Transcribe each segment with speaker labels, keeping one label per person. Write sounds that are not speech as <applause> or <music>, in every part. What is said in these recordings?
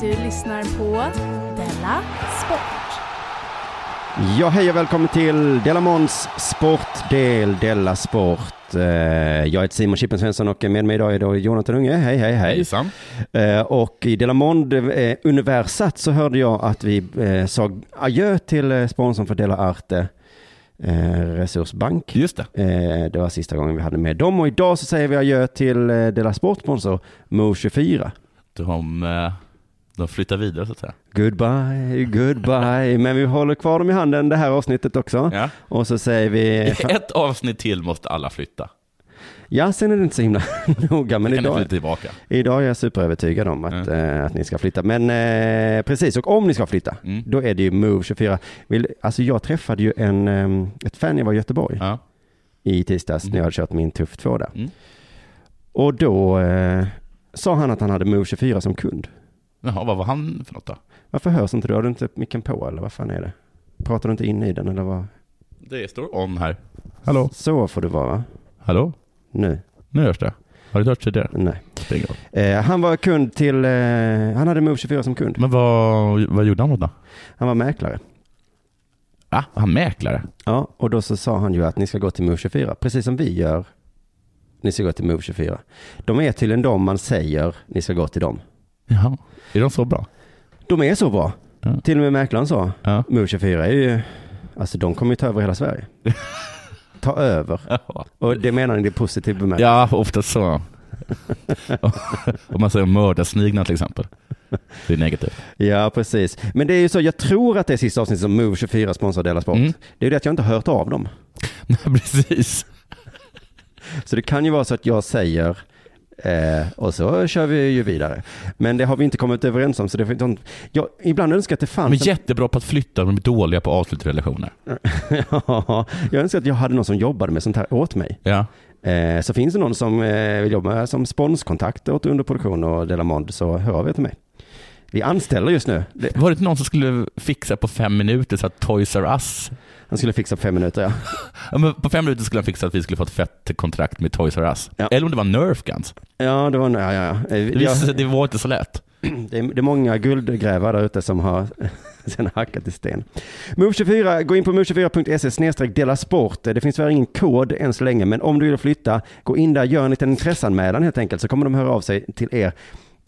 Speaker 1: Du lyssnar på Della Sport.
Speaker 2: Ja, hej och välkommen till Della Måns sportdel, Della Sport. Eh, Jag heter Simon Chippen Svensson och med mig idag är då Jonathan Unge. Hej, hej, hej.
Speaker 3: Hejsan.
Speaker 2: Eh, Och i Della Mond-universat så hörde jag att vi eh, sa adjö till eh, sponsorn för Della Arte, eh, Resursbank.
Speaker 3: Just det.
Speaker 2: Eh, Det var sista gången vi hade med dem och idag så säger vi adjö till eh, Della Sportsponsor Mo24.
Speaker 3: De, eh, de flyttar vidare så att säga.
Speaker 2: Goodbye, goodbye, men vi håller kvar dem i handen det här avsnittet också.
Speaker 3: Ja.
Speaker 2: Och så säger
Speaker 3: <laughs>
Speaker 2: vi...
Speaker 3: I ett avsnitt till måste alla flytta.
Speaker 2: Ja, sen är det inte så himla <laughs> noga, men
Speaker 3: Men kan ni
Speaker 2: idag,
Speaker 3: flytta tillbaka. idag
Speaker 2: idag är jag superövertygad om att, eh, att ni ska flytta. Men eh, precis, och om ni ska flytta,
Speaker 3: Mm.
Speaker 2: då är det ju Move24. Vill, alltså jag träffade ju en, eh, ett fan jag var i Göteborg
Speaker 3: Ja.
Speaker 2: i tisdags när jag hade kört min Tuff 2 där.
Speaker 3: Mm.
Speaker 2: Och då eh, sa han att han hade Move24 som kund.
Speaker 3: Jaha, vad var han för något då?
Speaker 2: Varför hörs inte du? Har du inte micken på eller vad fan är det? Pratar du inte in i den eller vad?
Speaker 3: Det står on här. Hallå?
Speaker 2: Så får du vara va?
Speaker 3: Hallå?
Speaker 2: Nu?
Speaker 3: Nu hörs det. Har du hört tidigare?
Speaker 2: Nej.
Speaker 3: Stäng av.
Speaker 2: Eh, han var kund till, eh, han hade Move24 som kund.
Speaker 3: Men vad, vad gjorde han då?
Speaker 2: Han var mäklare.
Speaker 3: Va? Var han mäklare?
Speaker 2: Ja, och då så sa han ju att ni ska gå till Move24, precis som vi gör. Ni ska gå till Move24. De är tydligen de man säger, ni ska gå till dem.
Speaker 3: Jaha. Är de så bra?
Speaker 2: De är så bra.
Speaker 3: Ja.
Speaker 2: Till och med mäklaren sa,
Speaker 3: Ja.
Speaker 2: Move24 är ju, alltså de kommer ju ta över hela
Speaker 3: <laughs>
Speaker 2: Sverige. ta över.
Speaker 3: Jaha.
Speaker 2: Och det menar ni i positiv bemärkelse.
Speaker 3: Ja, ofta så. <laughs> Om man säger mördarsnigna till exempel. Det är negativt.
Speaker 2: Ja, precis. Men det är ju så, jag tror att det är sista avsnittet som Move24 sponsrar Della Sport.
Speaker 3: Mm.
Speaker 2: Det är ju det att jag inte har hört av dem.
Speaker 3: Nej, <laughs> precis.
Speaker 2: Så det kan ju vara så att jag säger eh, och så kör vi ju vidare. Men det har vi inte kommit överens om. Så det, får inte- jag ibland önskar att det
Speaker 3: De
Speaker 2: fanns...
Speaker 3: är jättebra på att flytta, men de är dåliga på att avsluta relationer.
Speaker 2: <laughs> ja, jag önskar att jag hade någon som jobbade med sånt här åt mig.
Speaker 3: Ja.
Speaker 2: Eh, så finns det någon som eh, vill jobba som sponskontakt åt underproduktion och Delamond så hör av er till mig. Vi anställer just nu. Det,
Speaker 3: Var det inte någon som skulle fixa på fem minuter så att Toys R Us...
Speaker 2: han skulle fixa på fem minuter, ja.
Speaker 3: Ja, men på fem minuter skulle han fixa att vi skulle få ett fett kontrakt med Toys R Us.
Speaker 2: Ja.
Speaker 3: Eller om det var Nerf Guns.
Speaker 2: Ja, det var... Ja, ja, ja. Eh,
Speaker 3: Det,
Speaker 2: jag-
Speaker 3: visade sig att det var inte så lätt.
Speaker 2: <clears throat> Det är, det är många guldgrävare där ute som har <laughs> sen hackat i sten. Move24, gå in på move24.se snedstreck dela sport. Det finns väl ingen kod än så länge, men om du vill flytta, gå in där, gör en liten intresseanmälan helt enkelt, så kommer de höra av sig till er.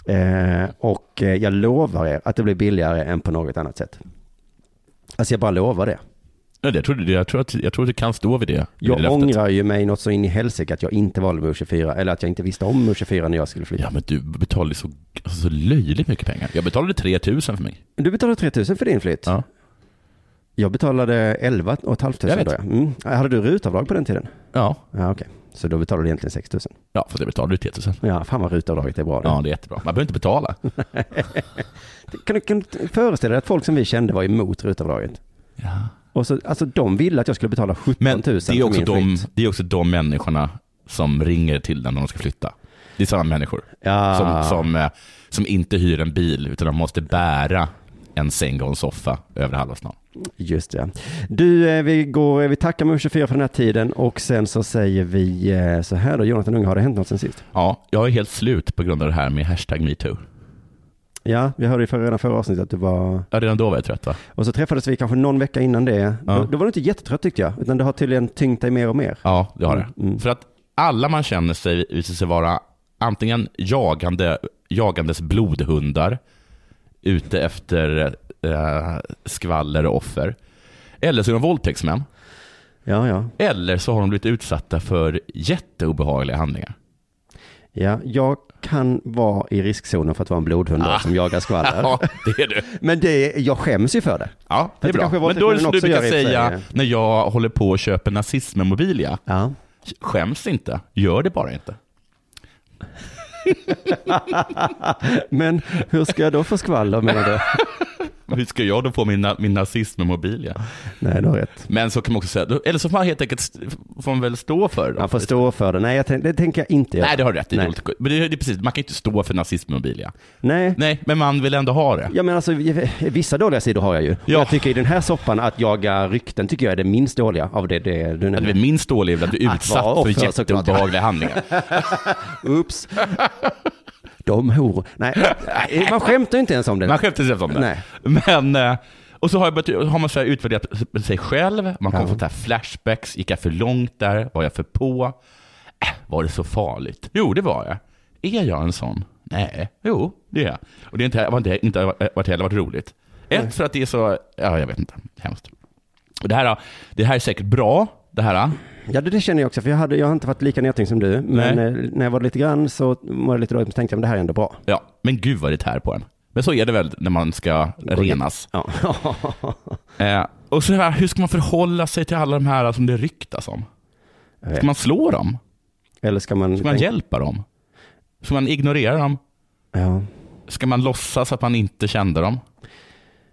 Speaker 2: Eh, och eh, jag lovar er att det blir billigare än på något annat sätt. Alltså jag bara lovar det.
Speaker 3: Nej, det- Jag tror, jag, tror att, jag tror att du kan stå vid det. vid
Speaker 2: Jag
Speaker 3: det löftet.
Speaker 2: ångrar ju mig något så in i helsike att jag inte valde Move24, eller att jag inte visste om Move24 när jag skulle flytta.
Speaker 3: Ja, men du betalade så, alltså, så löjligt mycket pengar. Jag betalade 3000 för mig.
Speaker 2: Du betalade 3000 för din flytt.
Speaker 3: Ja.
Speaker 2: Jag betalade 11 och ett halvt
Speaker 3: Jag
Speaker 2: tusen
Speaker 3: vet.
Speaker 2: då. ja. Mm. Hade du rutavdrag på den tiden?
Speaker 3: Ja,
Speaker 2: Ja, okej. Så då betalade du egentligen 6 000.
Speaker 3: ja för jag betalade 3000.
Speaker 2: Ja, fan vad rutavdraget är bra. det.
Speaker 3: Ja, det är jättebra. Man behöver inte betala.
Speaker 2: Kan, du, kan du föreställa dig att folk som vi kände var emot rutavdraget?
Speaker 3: Ja.
Speaker 2: Och så, alltså de ville att jag skulle betala 17
Speaker 3: Men
Speaker 2: 000
Speaker 3: det är,
Speaker 2: för
Speaker 3: också
Speaker 2: min
Speaker 3: de,
Speaker 2: flytt.
Speaker 3: det är också de människorna som ringer till den när de ska flytta. Det är sådana människor.
Speaker 2: Ja,
Speaker 3: Som, som, eh, som inte hyr en bil utan de måste bära en säng och en soffa över halva stan.
Speaker 2: Just det. Du, eh, vi, går, vi tackar Move 24 för den här tiden och sen så säger vi eh, så här då, Jonathan Unge, har det hänt något sen sist?
Speaker 3: Ja, jag är helt slut på grund av det här med hashtag metoo.
Speaker 2: Ja, vi hörde ju för, redan förra avsnittet att du var...
Speaker 3: Ja, redan då var jag trött va?
Speaker 2: Och så träffades vi kanske någon vecka innan det.
Speaker 3: Ja.
Speaker 2: Då, då var du inte jättetrött tyckte jag, utan det har tydligen tyngt dig mer och mer.
Speaker 3: Ja, det har det.
Speaker 2: Mm, mm.
Speaker 3: För att alla man känner sig visar sig vara antingen jagande, jagandes blodhundar ute efter eh, skvaller och offer. Eller så är de våldtäktsmän.
Speaker 2: Ja, ja.
Speaker 3: Eller så har de blivit utsatta för jätteobehagliga handlingar.
Speaker 2: ja. Jag kan vara i riskzonen för att vara en blodhund då, som jagar skvaller.
Speaker 3: Ah. Ja, det är du.
Speaker 2: Men det, jag skäms ju för det.
Speaker 3: Ja, det är
Speaker 2: Det
Speaker 3: bra.
Speaker 2: kanske
Speaker 3: Men då är det som du
Speaker 2: också gör
Speaker 3: brukar
Speaker 2: i och för sig.
Speaker 3: säga när jag håller på och köper nazismmemobilia.
Speaker 2: Ja.
Speaker 3: Skäms inte, gör det bara inte.
Speaker 2: Men hur ska jag då få skvaller menar du?
Speaker 3: Men Hur ska jag då få min, na- min nazismmemobilia?
Speaker 2: Nej, du har rätt.
Speaker 3: Men så kan man också säga, då- eller så får man helt enkelt st- får man väl stå för det.
Speaker 2: Man får stå för det. Nej, jag tänk, det tänker jag inte göra.
Speaker 3: Nej, det har du rätt i.
Speaker 2: Nej.
Speaker 3: Dåligt. Men det är det är precis, man kan ju inte stå för nazismmobilia.
Speaker 2: Nej.
Speaker 3: Nej, men man vill ändå ha det.
Speaker 2: Ja men alltså vissa dåliga sidor har jag ju. Ja.
Speaker 3: Ja.
Speaker 2: Jag tycker i den här soppan att jaga rykten tycker jag är det minst dåliga av det, det du
Speaker 3: Det är väl
Speaker 2: nämnde.
Speaker 3: minst dåliga att bli
Speaker 2: Att
Speaker 3: utsatt
Speaker 2: vara
Speaker 3: för
Speaker 2: offer, såklart, ja.
Speaker 3: jätteobehagliga handlingar. <laughs>
Speaker 2: Oops. De horor. Nej, nej, man skämtar ju inte ens om det.
Speaker 3: Man skämtar sig om det.
Speaker 2: Nej.
Speaker 3: Men, eh, och så har, jag, börjat- har man så här utvärderat sig själv, man kommer
Speaker 2: Ja.
Speaker 3: få så här flashbacks, gick jag för långt där, var jag för på? Äh, var det så farligt? Jo, det var jag. Är jag en sån? Nej, jo, det är jag. Och det är inte, var inte, inte varit heller varit roligt. Ett, för att det är så, ja jag vet inte, hemskt. Och det, här, har- det här är säkert bra, det här.
Speaker 2: Ja det, det känner jag också, för jag, hade, jag har inte varit lika nedtyngd som du. Men
Speaker 3: Nej.
Speaker 2: eh, när jag var lite grann så var det lite dåligt, men tänkte jag men det här är ändå bra.
Speaker 3: Ja, men gud vad det tär på en. Men så är det väl när man ska renas.
Speaker 2: <laughs> Ja.
Speaker 3: Eh, och så här, hur ska man förhålla sig till alla de här som det ryktas om?
Speaker 2: Jag vet.
Speaker 3: Ska man slå dem?
Speaker 2: Eh, Eller ska man...
Speaker 3: Ska man
Speaker 2: tänka-
Speaker 3: hjälpa dem? Ska man ignorera dem?
Speaker 2: Ja.
Speaker 3: Ska man låtsas att man inte kände dem?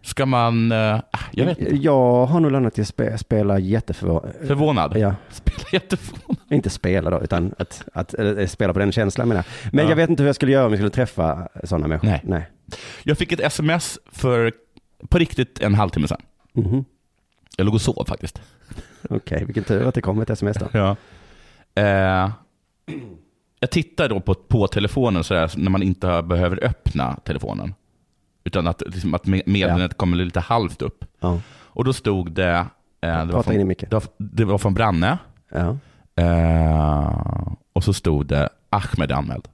Speaker 3: Ska man... eh, jag vet inte.
Speaker 2: Jag har nog landat i att spe, spela jätteförvånad.
Speaker 3: Förvånad?
Speaker 2: Ja,
Speaker 3: Spela jätteförvånad.
Speaker 2: inte spela då, utan att, att eh, spela på den känslan menar jag. Men
Speaker 3: Ja.
Speaker 2: jag vet inte hur jag skulle göra om jag skulle träffa sådana människor.
Speaker 3: Nej.
Speaker 2: Nej.
Speaker 3: Jag fick ett sms för på riktigt en halvtimme sedan.
Speaker 2: Mhm.
Speaker 3: Jag låg och sov faktiskt.
Speaker 2: Okej, vilken tur att det kom ett sms
Speaker 3: <laughs>
Speaker 2: då.
Speaker 3: Ja. Eh, jag tittar då på, på telefonen sådär, när man inte behöver öppna telefonen. Utan att, liksom, att med- meddelandet kommer lite halvt upp.
Speaker 2: Ja.
Speaker 3: Och då stod det... Eh, det, var
Speaker 2: Prata in i
Speaker 3: från,
Speaker 2: micken.
Speaker 3: det, var, det var från Branne.
Speaker 2: Ja. <laughs>
Speaker 3: Eh, och så stod det Ahmed är anmäld.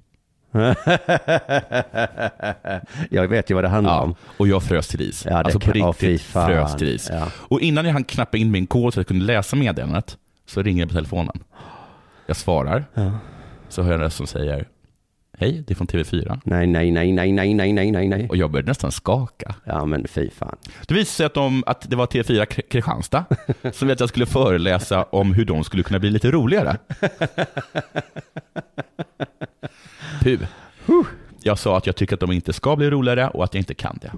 Speaker 2: jag vet ju vad det handlar om.
Speaker 3: Och jag frös till is.
Speaker 2: Ja, det
Speaker 3: alltså på
Speaker 2: kan- ja,
Speaker 3: riktigt
Speaker 2: fy fan.
Speaker 3: frös till is.
Speaker 2: Ja.
Speaker 3: Och innan jag hann knappa in min kod så jag kunde läsa meddelandet så ringer jag på telefonen. Jag svarar. Så hör jag en röst som säger Hej, det är från TV4.
Speaker 2: Nej, nej, nej, nej, nej, nej, nej, nej, nej.
Speaker 3: Och jag började nästan skaka.
Speaker 2: Ja, men fy fan.
Speaker 3: Det visade sig att, de, att det var TV4 Kri- Kristianstad som ville att jag skulle föreläsa om hur de skulle kunna bli lite roligare. Puh. Jag sa att jag tycker att de inte ska bli roligare och att jag inte kan det.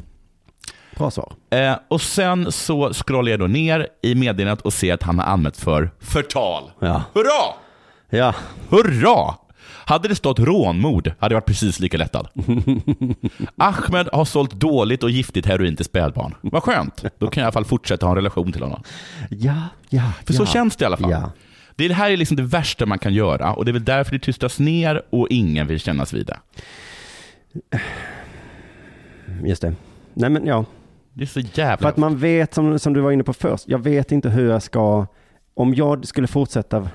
Speaker 2: Bra svar.
Speaker 3: Eh, och sen så scrollar jag då ner i meddelandet och ser att han har anmält för förtal.
Speaker 2: Ja.
Speaker 3: Hurra!
Speaker 2: Ja,
Speaker 3: Hurra! Hade det stått rånmord hade jag varit precis lika lättad.
Speaker 2: <laughs>
Speaker 3: Ahmed har sålt dåligt och giftigt heroin till spädbarn. Vad skönt. Då kan jag i alla fall fortsätta ha en relation till honom.
Speaker 2: ja, ja.
Speaker 3: För
Speaker 2: ja.
Speaker 3: så känns det i alla fall.
Speaker 2: Ja.
Speaker 3: Det är- det här är liksom det värsta man kan göra och det är väl därför det tystas ner och ingen vill kännas vid det.
Speaker 2: Just det. Nej, men ja.
Speaker 3: Det är så
Speaker 2: För
Speaker 3: jävla...
Speaker 2: att man vet, som, som du var inne på först, jag vet inte hur jag ska, om jag skulle fortsätta,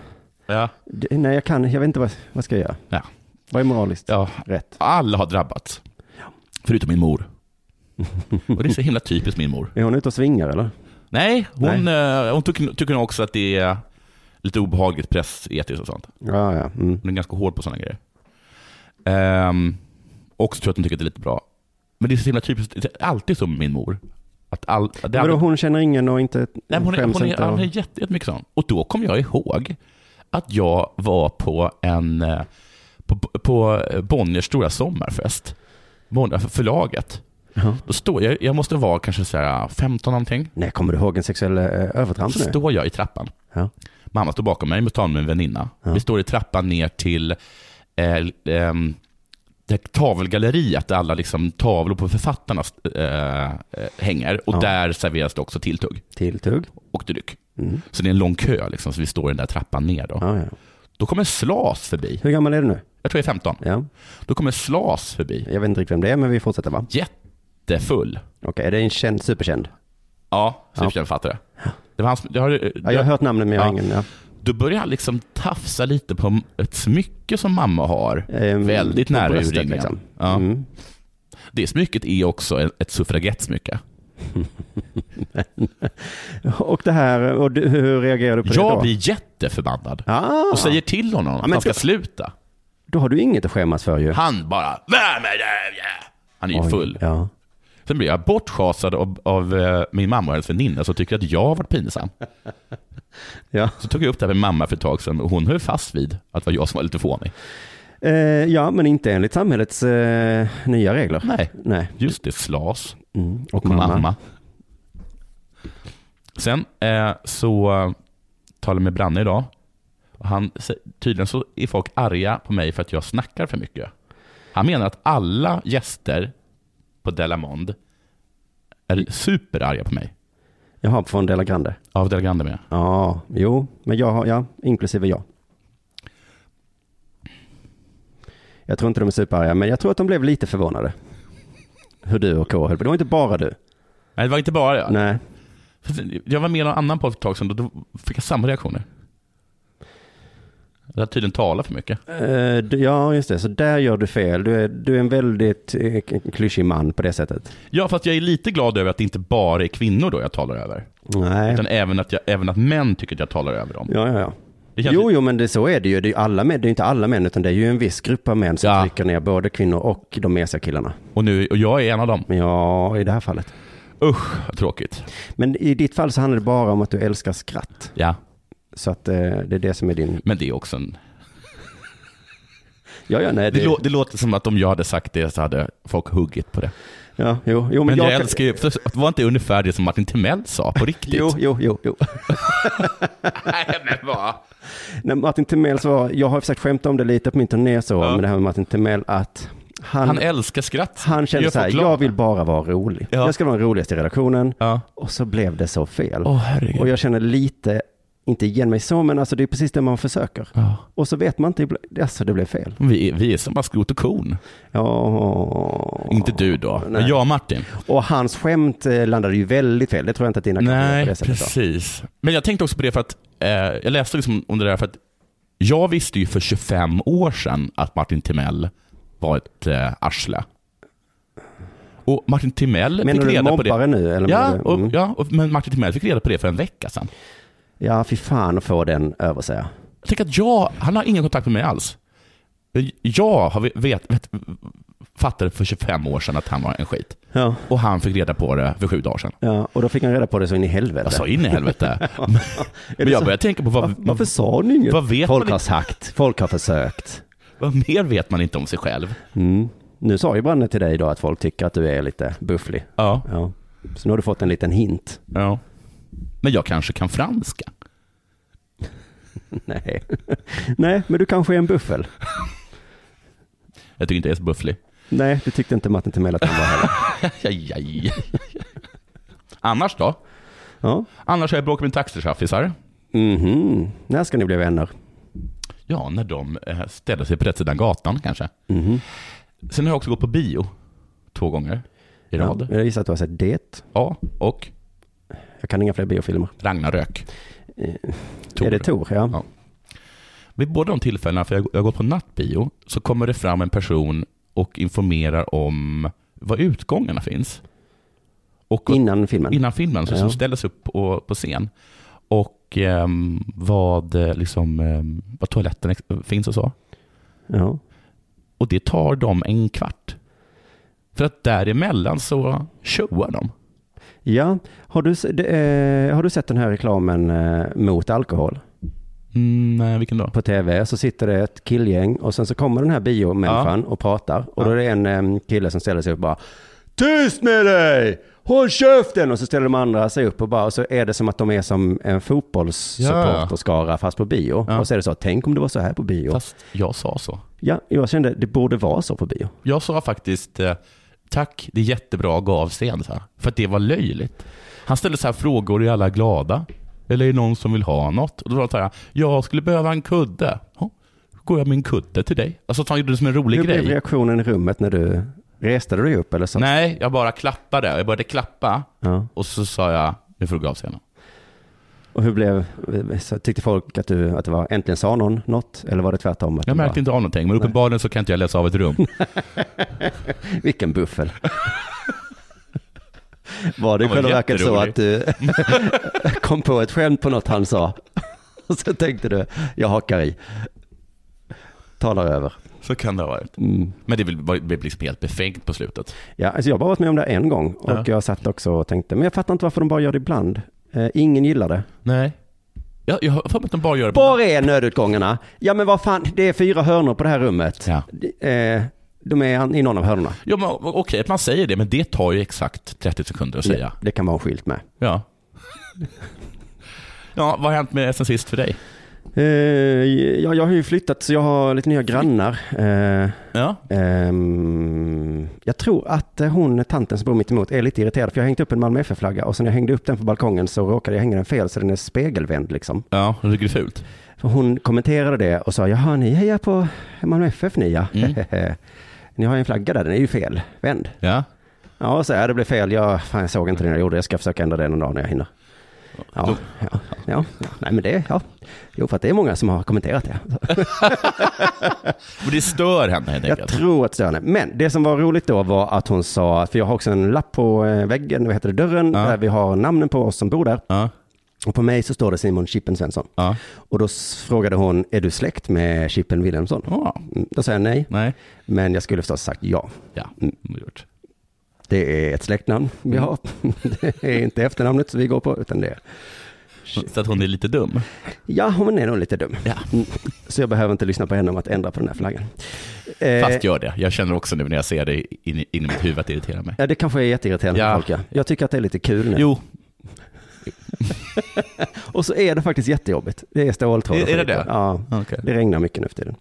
Speaker 3: Ja.
Speaker 2: det- nej jag kan, jag vet inte vad, vad ska jag göra?
Speaker 3: Ja.
Speaker 2: Vad är moraliskt
Speaker 3: Ja.
Speaker 2: rätt?
Speaker 3: Alla har drabbats. Förutom min mor. Och det är så himla typiskt min mor.
Speaker 2: Är hon ute och svingar eller?
Speaker 3: Nej, hon, eh, hon tycker, tycker nog också att det är lite obehagligt pressetiskt och sånt.
Speaker 2: Ja, ja. Mm.
Speaker 3: Hon är ganska hård på sådana grejer. Ehm, också tror jag att hon tycker att det är lite bra. Men det är så himla typiskt, det är alltid så med min mor. Att all, att det är
Speaker 2: Vadå,
Speaker 3: aldrig-
Speaker 2: hon känner ingen och inte
Speaker 3: Nej, men hon, är,
Speaker 2: skäms
Speaker 3: hon, är,
Speaker 2: inte? och-
Speaker 3: hon är jätte, jättemycket sån. Och då kom jag ihåg att jag var på en eh, på, på eh, Bonniers stora sommarfest. Bonnier, förlaget.
Speaker 2: Ja.
Speaker 3: Då står jag, jag måste vara kanske så här 15 någonting.
Speaker 2: Nej, kommer du ihåg en sexuell eh, övertramp
Speaker 3: Så
Speaker 2: nu?
Speaker 3: står jag i trappan.
Speaker 2: Ja.
Speaker 3: Mamma står bakom mig, men tar med en väninna. Vi står i trappan ner till eh, ehm, det här tavelgalleriet där alla liksom tavlor på författarna eh, eh, hänger. Och
Speaker 2: Ja.
Speaker 3: där serveras det också tilltugg
Speaker 2: Tilltugg.
Speaker 3: och dryck.
Speaker 2: Mm.
Speaker 3: Så det är en lång kö liksom, så vi står i den där trappan ner. Då,
Speaker 2: Ja, ja.
Speaker 3: då kommer Slas förbi.
Speaker 2: Hur gammal är du nu?
Speaker 3: Jag tror jag är 15.
Speaker 2: Ja.
Speaker 3: Då kommer Slas förbi.
Speaker 2: Jag vet inte riktigt vem det är, men vi fortsätter va?
Speaker 3: Jättefull.
Speaker 2: Okej, är det en känd, superkänd?
Speaker 3: Ja,
Speaker 2: Ja.
Speaker 3: superkänd författare. Det var hans, jag har,
Speaker 2: Ja, jag har hört namnet men jag har
Speaker 3: Ja.
Speaker 2: ingen. Ja.
Speaker 3: Då börjar han liksom tafsa lite på ett smycke som mamma har.
Speaker 2: Ehm,
Speaker 3: Väldigt
Speaker 2: på
Speaker 3: nära
Speaker 2: bröstet,
Speaker 3: urringningen.
Speaker 2: liksom.
Speaker 3: Ja.
Speaker 2: Mm.
Speaker 3: Det smycket är också ett- ett suffragettsmycke.
Speaker 2: <laughs> Och det här, och du, hur reagerar du på det
Speaker 3: Jag
Speaker 2: då?
Speaker 3: blir jätteförbannad
Speaker 2: Ah,
Speaker 3: och säger till honom att
Speaker 2: men
Speaker 3: han ska
Speaker 2: då-
Speaker 3: sluta.
Speaker 2: Då har du inget att skämmas för ju.
Speaker 3: Han bara "Vad med det?" Han är ju
Speaker 2: Oj,
Speaker 3: full.
Speaker 2: Ja.
Speaker 3: Sen blir jag bortschasad av, av eh, min mamma och hennes väninna som tycker att jag var pinsam.
Speaker 2: Ja.
Speaker 3: Så tog jag upp det här med mamma för ett tag sedan och hon höll fast vid att det var jag som var lite fånig.
Speaker 2: Eh, ja, men inte enligt samhällets eh, nya regler.
Speaker 3: Nej,
Speaker 2: Nej.
Speaker 3: just det, slas.
Speaker 2: Mm.
Speaker 3: och mamma. Sen eh, så eh, talade jag med Branne idag. Och han, sä- tydligen så är folk arga på mig för att jag snackar för mycket. Han menar att alla gäster på Delamond är superarga på mig.
Speaker 2: Jag har från Della Grande.
Speaker 3: Av Delagrande med.
Speaker 2: Ja, jo, men jag har, ja, inklusive jag. Jag tror inte de är superarga, men jag tror att de blev lite förvånade. Hur du och K höll på. Det var inte bara du.
Speaker 3: Nej, det var inte bara jag.
Speaker 2: Nej.
Speaker 3: För Jag var med i någon annan podd för ett tag sedan och då fick jag samma reaktioner. Jag har tydligen talat för mycket.
Speaker 2: Eh, du- ja, just det. Så där gör du fel. Du är, du är en väldigt eh, k- klyschig man på det sättet.
Speaker 3: Ja, fast jag är lite glad över att det inte bara är kvinnor då jag talar över.
Speaker 2: Nej.
Speaker 3: Utan även att, jag, även att män tycker att jag talar över dem.
Speaker 2: Ja, ja, ja.
Speaker 3: Det känns
Speaker 2: Jo, jo, men det, så är det ju. Det är ju alla män, det är ju inte alla män, utan det är ju en viss grupp av män som
Speaker 3: Ja.
Speaker 2: trycker ner både kvinnor och de mesiga killarna.
Speaker 3: Och, nu, och jag är en av dem.
Speaker 2: Men ja, i det här fallet.
Speaker 3: Usch, vad tråkigt.
Speaker 2: Men i ditt fall så handlar det bara om att du älskar skratt.
Speaker 3: Ja,
Speaker 2: Så att eh, det är det som är din...
Speaker 3: men det är också en...
Speaker 2: Ja, ja, nej,
Speaker 3: Det,
Speaker 2: det...
Speaker 3: lå, det låter som att om jag hade sagt det så hade folk huggit på det.
Speaker 2: Ja, jo, jo,
Speaker 3: Men,
Speaker 2: men, jag...
Speaker 3: jag
Speaker 2: kan-
Speaker 3: älskar ju... för- Var inte ungefär det som Martin Timell sa på riktigt?
Speaker 2: Jo, jo, jo, jo. <laughs>
Speaker 3: Nej, men vad?
Speaker 2: När Martin Timell sa, jag har försökt skämta om det lite på min turné så, men det här med Martin Timell att han,
Speaker 3: Han
Speaker 2: han,
Speaker 3: älskar skratt.
Speaker 2: kände
Speaker 3: Gör
Speaker 2: så här,
Speaker 3: folk glada.
Speaker 2: jag vill bara vara rolig.
Speaker 3: Ja.
Speaker 2: Jag ska vara den roligaste i redaktionen.
Speaker 3: Ja.
Speaker 2: Och så blev det så fel.
Speaker 3: Åh, herregud.
Speaker 2: Och jag känner lite, inte igen mig så, men alltså det är precis det man försöker.
Speaker 3: Ja.
Speaker 2: Och så vet man inte, ibland- alltså det blev fel.
Speaker 3: Vi, är- vi är som bara skrot och korn.
Speaker 2: Ja.
Speaker 3: Inte du då, men jag och Martin.
Speaker 2: Och hans skämt eh, landade ju väldigt fel. Det tror jag inte att dina kanske gör
Speaker 3: Nej,
Speaker 2: på det sättet. då.
Speaker 3: precis. Men jag tänkte också på det för att eh, jag läste liksom om det där för att jag visste ju för 25 år sedan att Martin Timell var ett eh, arsle. Och Martin Timell
Speaker 2: Menar
Speaker 3: fick
Speaker 2: du
Speaker 3: reda på det.
Speaker 2: mobbare nu? Eller menar
Speaker 3: Ja,
Speaker 2: du-
Speaker 3: och,
Speaker 2: mm.
Speaker 3: ja och, men Martin Timell fick reda på det för en vecka sedan.
Speaker 2: ja, fy fan att få den över sig. ja.
Speaker 3: Jag tänker att jag, han har ingen kontakt med mig alls. Jag har vet, vet, fattade för 25 år sedan att han var en skit.
Speaker 2: Ja,
Speaker 3: Och han fick reda på det för sju dagar sedan.
Speaker 2: ja, och då fick han reda på det så in i helvete.
Speaker 3: Jag sa in
Speaker 2: <laughs>
Speaker 3: i helvete.
Speaker 2: det
Speaker 3: Men jag
Speaker 2: så-
Speaker 3: började tänka på vad,
Speaker 2: Varför, varför sa ni inget?
Speaker 3: Vad vet
Speaker 2: folk
Speaker 3: man
Speaker 2: har
Speaker 3: inte?
Speaker 2: sagt, folk har försökt.
Speaker 3: vad mer vet man inte om sig själv.
Speaker 2: Mm. Nu sa ju Branne till dig idag att folk tycker att du är lite bufflig.
Speaker 3: Ja.
Speaker 2: Ja. Så nu har du fått en liten hint. <laughs>
Speaker 3: Ja. Men jag kanske kan franska.
Speaker 2: Nej, <laughs> Nej men du kanske är en buffel.
Speaker 3: Jag tycker inte jag är så bufflig.
Speaker 2: Nej, det tyckte inte Martin Timell att han var heller.
Speaker 3: <laughs> Aj, aj. Annars då?
Speaker 2: Ja.
Speaker 3: Annars har jag bråkat med taxichaffisar.
Speaker 2: Mhm. När ska ni bli vänner?
Speaker 3: Ja, när de eh, ställer sig på rätt sidan gatan kanske.
Speaker 2: Mhm.
Speaker 3: Sen har jag också gått på bio. Två gånger i rad. Ja,
Speaker 2: Jag gissar att du har sett Det.
Speaker 3: och
Speaker 2: Jag kan inga fler biofilmer.
Speaker 3: Ragnarök. Tor.
Speaker 2: Eh, Är det Tor? Ja.
Speaker 3: Ja. Vid båda de tillfällena, för jag jag har gått på nattbio, så kommer det fram en person och informerar om var utgångarna finns. Och
Speaker 2: Innan filmen?
Speaker 3: innan filmen, så,
Speaker 2: Ja.
Speaker 3: som ställdes upp på, på scen. Och ehm, vad, eh, liksom, ehm, vad toaletten ex- finns och så.
Speaker 2: Ja.
Speaker 3: Och det tar dem en kvart. För att däremellan så showar de.
Speaker 2: ja. Har, du, se- det, eh, har du sett den här reklamen eh, mot alkohol?
Speaker 3: Mm, nej, vilken då?
Speaker 2: På tv så sitter det ett killgäng och sen så kommer den här biomänniskan och pratar. Och då är det en eh, kille som ställer sig upp och bara Tyst med dig! Håll käften! Och så ställer de andra sig upp och bara, och så är det som att de är som en fotbollssupporterskara fast på bio.
Speaker 3: Ja.
Speaker 2: Och så är det så, tänk om det var så här på bio.
Speaker 3: Fast jag sa så.
Speaker 2: Ja, jag kände det borde vara så på bio.
Speaker 3: Jag sa faktiskt eh, tack, det är jättebra, gå av scen. Så här, för att det var löjligt. Han ställde så här frågor, är alla glada? Eller är det någon som vill ha något? Och då sa jag, jag skulle behöva en kudde. Ja, går jag med en kudde till dig? Alltså att han gjorde det som en rolig
Speaker 2: Hur blev
Speaker 3: grej.
Speaker 2: reaktionen i rummet när du reste dig upp eller så?
Speaker 3: Nej, jag bara klappade. Jag började klappa
Speaker 2: Ja.
Speaker 3: och så sa jag, nu får du gå av scenen.
Speaker 2: Och hur blev, eh, så tyckte folk att, du, att det var äntligen sa någon något? Eller var det tvärtom? Att
Speaker 3: Jag
Speaker 2: du
Speaker 3: märkte inte av någonting, men uppenbarligen så kan inte jag läsa av ett rum.
Speaker 2: bara, Vilken buffel. var det i
Speaker 3: Han var
Speaker 2: själva verket så
Speaker 3: jätterolig.
Speaker 2: att du <laughs> kom på ett skämt på något han sa? Och så tänkte du, jag hakar i. Talar över.
Speaker 3: <laughs> Så kan det ha varit.
Speaker 2: Mm.
Speaker 3: Men det blev det blev liksom helt befängt på slutet.
Speaker 2: Ja, alltså jag har bara varit med om det en gång och
Speaker 3: Ja.
Speaker 2: jag satt också och tänkte, men jag fattar inte varför de bara gör det ibland. Eh, ingen gillar det.
Speaker 3: Nej. Jag, jag har för mig att de bara gör det.
Speaker 2: Var är nödutgångarna? Ja, men vad fan, det är fyra hörnor på det här rummet.
Speaker 3: Ja.
Speaker 2: Eh, de är an- i någon av hörnorna.
Speaker 3: Ja, men, okej att man säger det, men det tar ju exakt 30 sekunder att säga.
Speaker 2: Det kan vara en skylt med.
Speaker 3: Ja. ja, vad har hänt med sen sist för dig?
Speaker 2: Eh, ja, jag har ju flyttat så jag har lite nya grannar. Eh,
Speaker 3: Ja.
Speaker 2: ehm, jag tror att eh, hon, tanten som bor mitt emot är lite irriterad för jag har hängt upp en Malmö FF-flagga och sen när jag hängde upp den på balkongen så råkade jag hänga den fel så den är spegelvänd liksom.
Speaker 3: Ja, jag tycker det är fult.
Speaker 2: För hon kommenterade det och sa, jaha ni hejar på Malmö FF ni ja. <laughs> ni har ju en flagga där, den är ju fel, vänd.
Speaker 3: Ja.
Speaker 2: Ja, så här, det blev fel. Jag, fan, jag såg inte det när jag gjorde det. Jag ska försöka ändra det någon dag när jag hinner. Ja, ja, ja, ja. Nej, men det, ja. Jo, för att det är många som har kommenterat det.
Speaker 3: Men det stör henne helt
Speaker 2: Jag
Speaker 3: enkelt.
Speaker 2: tror att Störne. Men det som var roligt då var att hon sa, för jag har också en lapp på eh, väggen, vad heter det, dörren,
Speaker 3: Ja.
Speaker 2: där vi har namnen på oss som bor där.
Speaker 3: Ja.
Speaker 2: Och på mig så står det Simon Chippen Svensson.
Speaker 3: Ja.
Speaker 2: Och då s- frågade hon, är du släkt med Chippen Wilhelmsson?
Speaker 3: Ja.
Speaker 2: Mm, Då sa jag nej,
Speaker 3: Nej. Mm.
Speaker 2: men jag skulle förstås sagt ja.
Speaker 3: Ja, gjort.
Speaker 2: Det är ett släktnamn vi har. <laughs> Det är inte efternamnet som vi går på, utan det är
Speaker 3: Så att hon är lite dum.
Speaker 2: Ja, hon är nog lite dum.
Speaker 3: Ja.
Speaker 2: Mm. Så jag behöver inte lyssna på henne om att ändra på den här flaggan. Eh,
Speaker 3: Fast gör det. Jag känner också nu när jag ser det in, in i mitt huvud att det irriterar mig.
Speaker 2: Ja, det kanske är jätteirriterande
Speaker 3: Ja.
Speaker 2: för folk. Ja. Jag tycker att det är lite kul nu.
Speaker 3: Jo,
Speaker 2: Och så är det faktiskt jättejobbigt. Det är ståltråd. och
Speaker 3: Är- är det
Speaker 2: skit.
Speaker 3: det?
Speaker 2: Ja,
Speaker 3: Okej.
Speaker 2: det regnar mycket nu för tiden.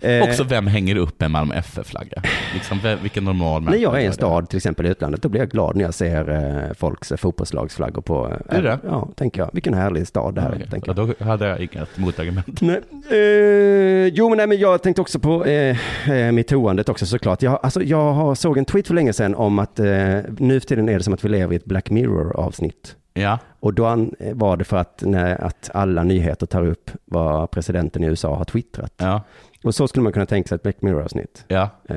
Speaker 2: Eh,
Speaker 3: också vem hänger upp en Malmö FF-flagga? Liksom, vem- vilken normal
Speaker 2: när
Speaker 3: människa
Speaker 2: jag är i
Speaker 3: gör
Speaker 2: en
Speaker 3: det?
Speaker 2: stad, till exempel i utlandet, då blir jag glad när jag ser eh, folks eh, fotbollslagsflaggor på... eh,
Speaker 3: Är det?
Speaker 2: Ja, tänker jag. Vilken härlig stad det här är,
Speaker 3: Okej,
Speaker 2: tänker
Speaker 3: ja,
Speaker 2: jag.
Speaker 3: Då hade jag inget motargument.
Speaker 2: Nej. Eh, jo, men, nej, men jag tänkte också på eh, eh, mitt toandet också såklart. Jag, alltså, jag har, såg en tweet för länge sedan om att eh, nu för tiden är det som att vi lever i ett Black Mirror-avsnitt.
Speaker 3: Ja.
Speaker 2: Och då an, eh, var det för att, när, att alla nyheter tar upp vad presidenten i USA har twittrat.
Speaker 3: Ja.
Speaker 2: Och så skulle man kunna tänka sig ett Black Mirror-avsnitt.
Speaker 3: Ja.
Speaker 2: Eh,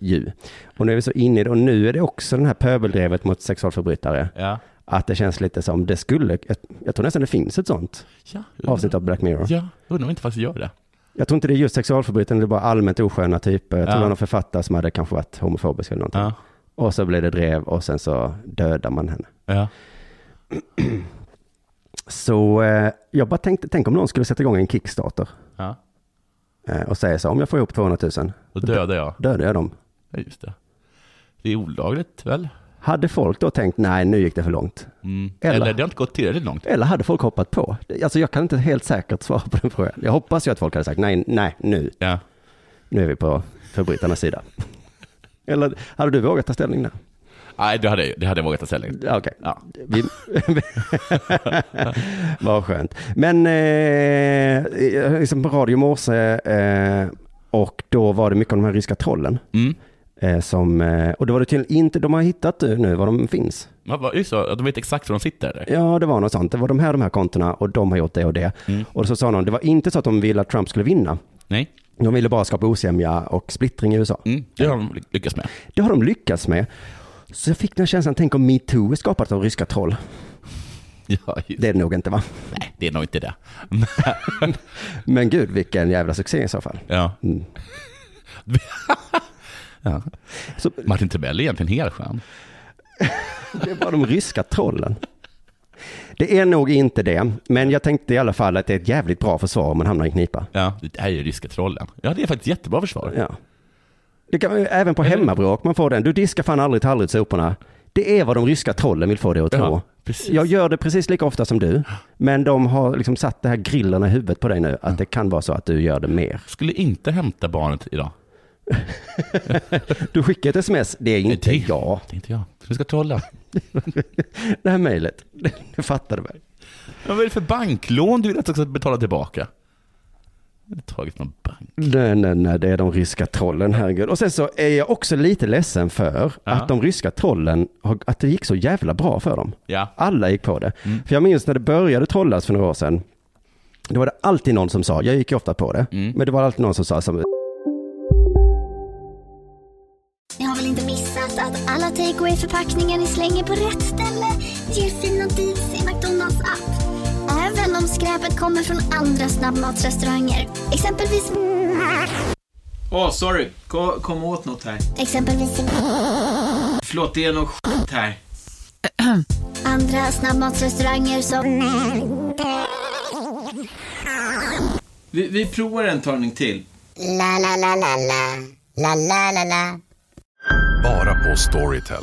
Speaker 2: ju. Och nu är vi så inne i det, och nu är det också den här pöbeldrevet mot sexualförbrytare.
Speaker 3: Ja.
Speaker 2: Att det känns lite som det skulle, jag tror nästan det finns ett sånt
Speaker 3: ja.
Speaker 2: avsnitt av Black Mirror.
Speaker 3: Ja, jag undrar om inte faktiskt gör det.
Speaker 2: Jag tror inte det är just sexualförbrytare, det är bara allmänt osköna typer. Jag tror
Speaker 3: Ja.
Speaker 2: det var någon författare som hade kanske varit homofobisk eller någonting.
Speaker 3: Ja.
Speaker 2: Och så blev det drev och sen så dödar man henne.
Speaker 3: Ja.
Speaker 2: Så eh, jag bara tänkte, tänk om någon skulle sätta igång en Kickstarter
Speaker 3: ja.
Speaker 2: eh, och säga så, om jag får ihop 200 000,
Speaker 3: Då dödar jag.
Speaker 2: dödar jag dem.
Speaker 3: Ja, just det. Det är olagligt väl?
Speaker 2: Hade folk då tänkt, nej nu gick det för långt?
Speaker 3: Mm.
Speaker 2: Eller-
Speaker 3: Eller? det har inte gått tillräckligt långt.
Speaker 2: Eller hade folk hoppat på? Alltså jag kan inte helt säkert svara på den frågan. Jag hoppas ju att folk hade sagt, nej, nej, nu,
Speaker 3: Ja.
Speaker 2: nu är vi på förbrytarnas sida. Eller hade du vågat ta ställning där?
Speaker 3: Nej, det hade, jag- det hade jag vågat ta ställning till.
Speaker 2: Ja, Okej.
Speaker 3: Ja.
Speaker 2: Vi... <laughs> Vad skönt. Men eh, jag liksom på radio i morse eh, och då var det mycket om de här ryska trollen.
Speaker 3: Mm.
Speaker 2: Eh, som, eh, och då var det tydligen inte, de har hittat eh, nu var de finns.
Speaker 3: Man bara, just det, de vet exakt var de sitter. Eller?
Speaker 2: Ja, det var något sånt. Det var de här, de här kontona och de har gjort det och det. Och så sa någon, det var inte så att de ville att Trump skulle vinna.
Speaker 3: Nej,
Speaker 2: De ville bara skapa osämja och splittring i USA.
Speaker 3: mm. det har de lyckats med.
Speaker 2: Det har de lyckats med. Så jag fick den här känslan, tänk om metoo är skapat av ryska troll.
Speaker 3: Ja, just-
Speaker 2: Det är det nog inte va?
Speaker 3: Nej, det är nog inte <laughs> det.
Speaker 2: Men gud, vilken jävla succé i så fall.
Speaker 3: Ja.
Speaker 2: Mm.
Speaker 3: <laughs> ja.
Speaker 2: Så,
Speaker 3: Martin Timell är egentligen helt skön.
Speaker 2: det var de ryska trollen. Det är nog inte det, men jag tänkte i alla fall att det är ett jävligt bra försvar om man hamnar i knipa.
Speaker 3: Ja, det här är ju ryska trollen. Ja, det är faktiskt jättebra försvar.
Speaker 2: Ja. Det kan, man ju- även på hemmabråk, man får den, du diskar fan aldrig tallrikssoporna. Det är vad de ryska trollen vill få dig att tro.
Speaker 3: Ja. Precis.
Speaker 2: Jag gör det precis lika ofta som du, men de har liksom satt det här grillen i huvudet på dig nu, att det kan vara så att du gör det mer.
Speaker 3: Skulle inte hämta barnet idag.
Speaker 2: Du skickar ett sms, det är inte
Speaker 3: Eh, det,
Speaker 2: jag.
Speaker 3: Det är inte jag. Du ska trolla.
Speaker 2: Det här mejlet, det fattar du väl?
Speaker 3: Vad är det för banklån du vill att jag ska betala tillbaka? Jag har tagit någon bank.
Speaker 2: Nej, nej, nej, det är de ryska trollen, herregud. Och sen så är jag också lite ledsen för att de ryska trollen, har- att det gick så jävla bra för dem.
Speaker 3: Ja.
Speaker 2: Alla gick på det.
Speaker 3: Mm.
Speaker 2: För jag minns när det började trollas för några år sedan, då var det alltid någon som sa, jag gick ju ofta på det,
Speaker 3: Mm.
Speaker 2: men det var alltid någon som sa, som,
Speaker 4: Ni har väl inte missat att alla takeaway förpackningar ni slänger på rätt ställe ger fina deals i McDonalds app. Även om skräpet kommer från andra snabbmatsrestauranger. Exempelvis...
Speaker 5: Åh, sorry. Kom, kom åt något här.
Speaker 4: Exempelvis...
Speaker 5: Förlåt, det är något skit här.
Speaker 4: <clears throat> Andra snabbmatsrestauranger som...
Speaker 5: Vi, vi provar en talning till.
Speaker 4: La, la, la, la, la. La, la, la, la.
Speaker 6: Bara på Storytel.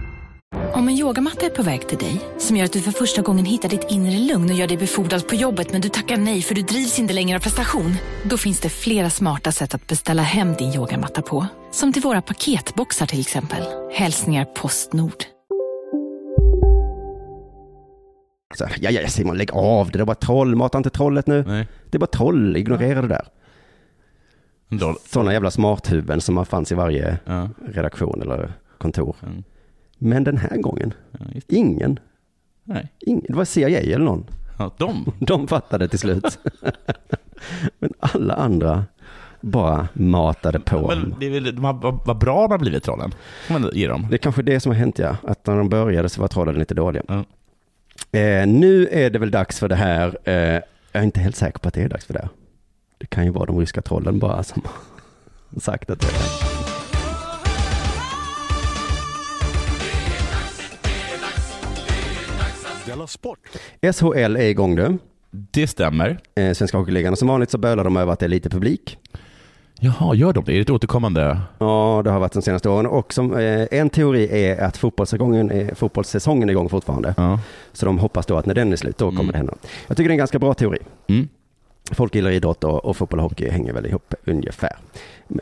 Speaker 7: Om en yogamatta är på väg till dig, som gör att du för första gången hittar ditt inre lugn och gör dig befordrad på jobbet men du tackar nej för du drivs inte längre av prestation. Då finns det flera smarta sätt att beställa hem din yogamatta på. Som till våra paketboxar till exempel. Hälsningar Postnord.
Speaker 2: så, här, ja, ja, Simon, lägg av det, det var troll, mata inte trollet nu.
Speaker 3: Nej.
Speaker 2: Det är bara troll, ignorera det där.
Speaker 3: En doll.
Speaker 2: Sådana jävla smarthuvuden som man fanns i varje
Speaker 3: Ja.
Speaker 2: redaktion eller kontor.
Speaker 3: Mm.
Speaker 2: Men den här gången,
Speaker 3: Ja, just.
Speaker 2: ingen.
Speaker 3: Nej.
Speaker 2: ingen. Det var CIA eller någon.
Speaker 3: Ja, de.
Speaker 2: De fattade till
Speaker 3: <laughs>
Speaker 2: slut. Men alla andra bara matade på.
Speaker 3: Men det är väl, de har, vad, vad bra de har blivit trollen. Får man ge dem.
Speaker 2: Det är kanske det som har hänt ja, att när de började så var trollen lite dåliga.
Speaker 3: Ja.
Speaker 2: Eh, nu är det väl dags för det här. Eh, jag är inte helt säker på att det är dags för det. här. Det kan ju vara de ryska trollen bara som har sagt att det är dags.
Speaker 6: Della Sport.
Speaker 2: SHL är igång nu.
Speaker 3: Det stämmer.
Speaker 2: Eh, Svenska Hockeyligan. Och som vanligt så bölar de över att det är lite publik.
Speaker 3: Jaha, gör de det? Är det ett återkommande?
Speaker 2: Ja, det har varit de senaste åren. Och som, eh, en teori är att fotbollssäsongen är, fotbollssäsongen är igång fortfarande.
Speaker 3: Ja.
Speaker 2: Så de hoppas då att när den är slut, då kommer det hända. Jag tycker det är en ganska bra teori.
Speaker 3: Mm.
Speaker 2: Folk gillar idrott och, och fotboll och hockey hänger väl ihop ungefär.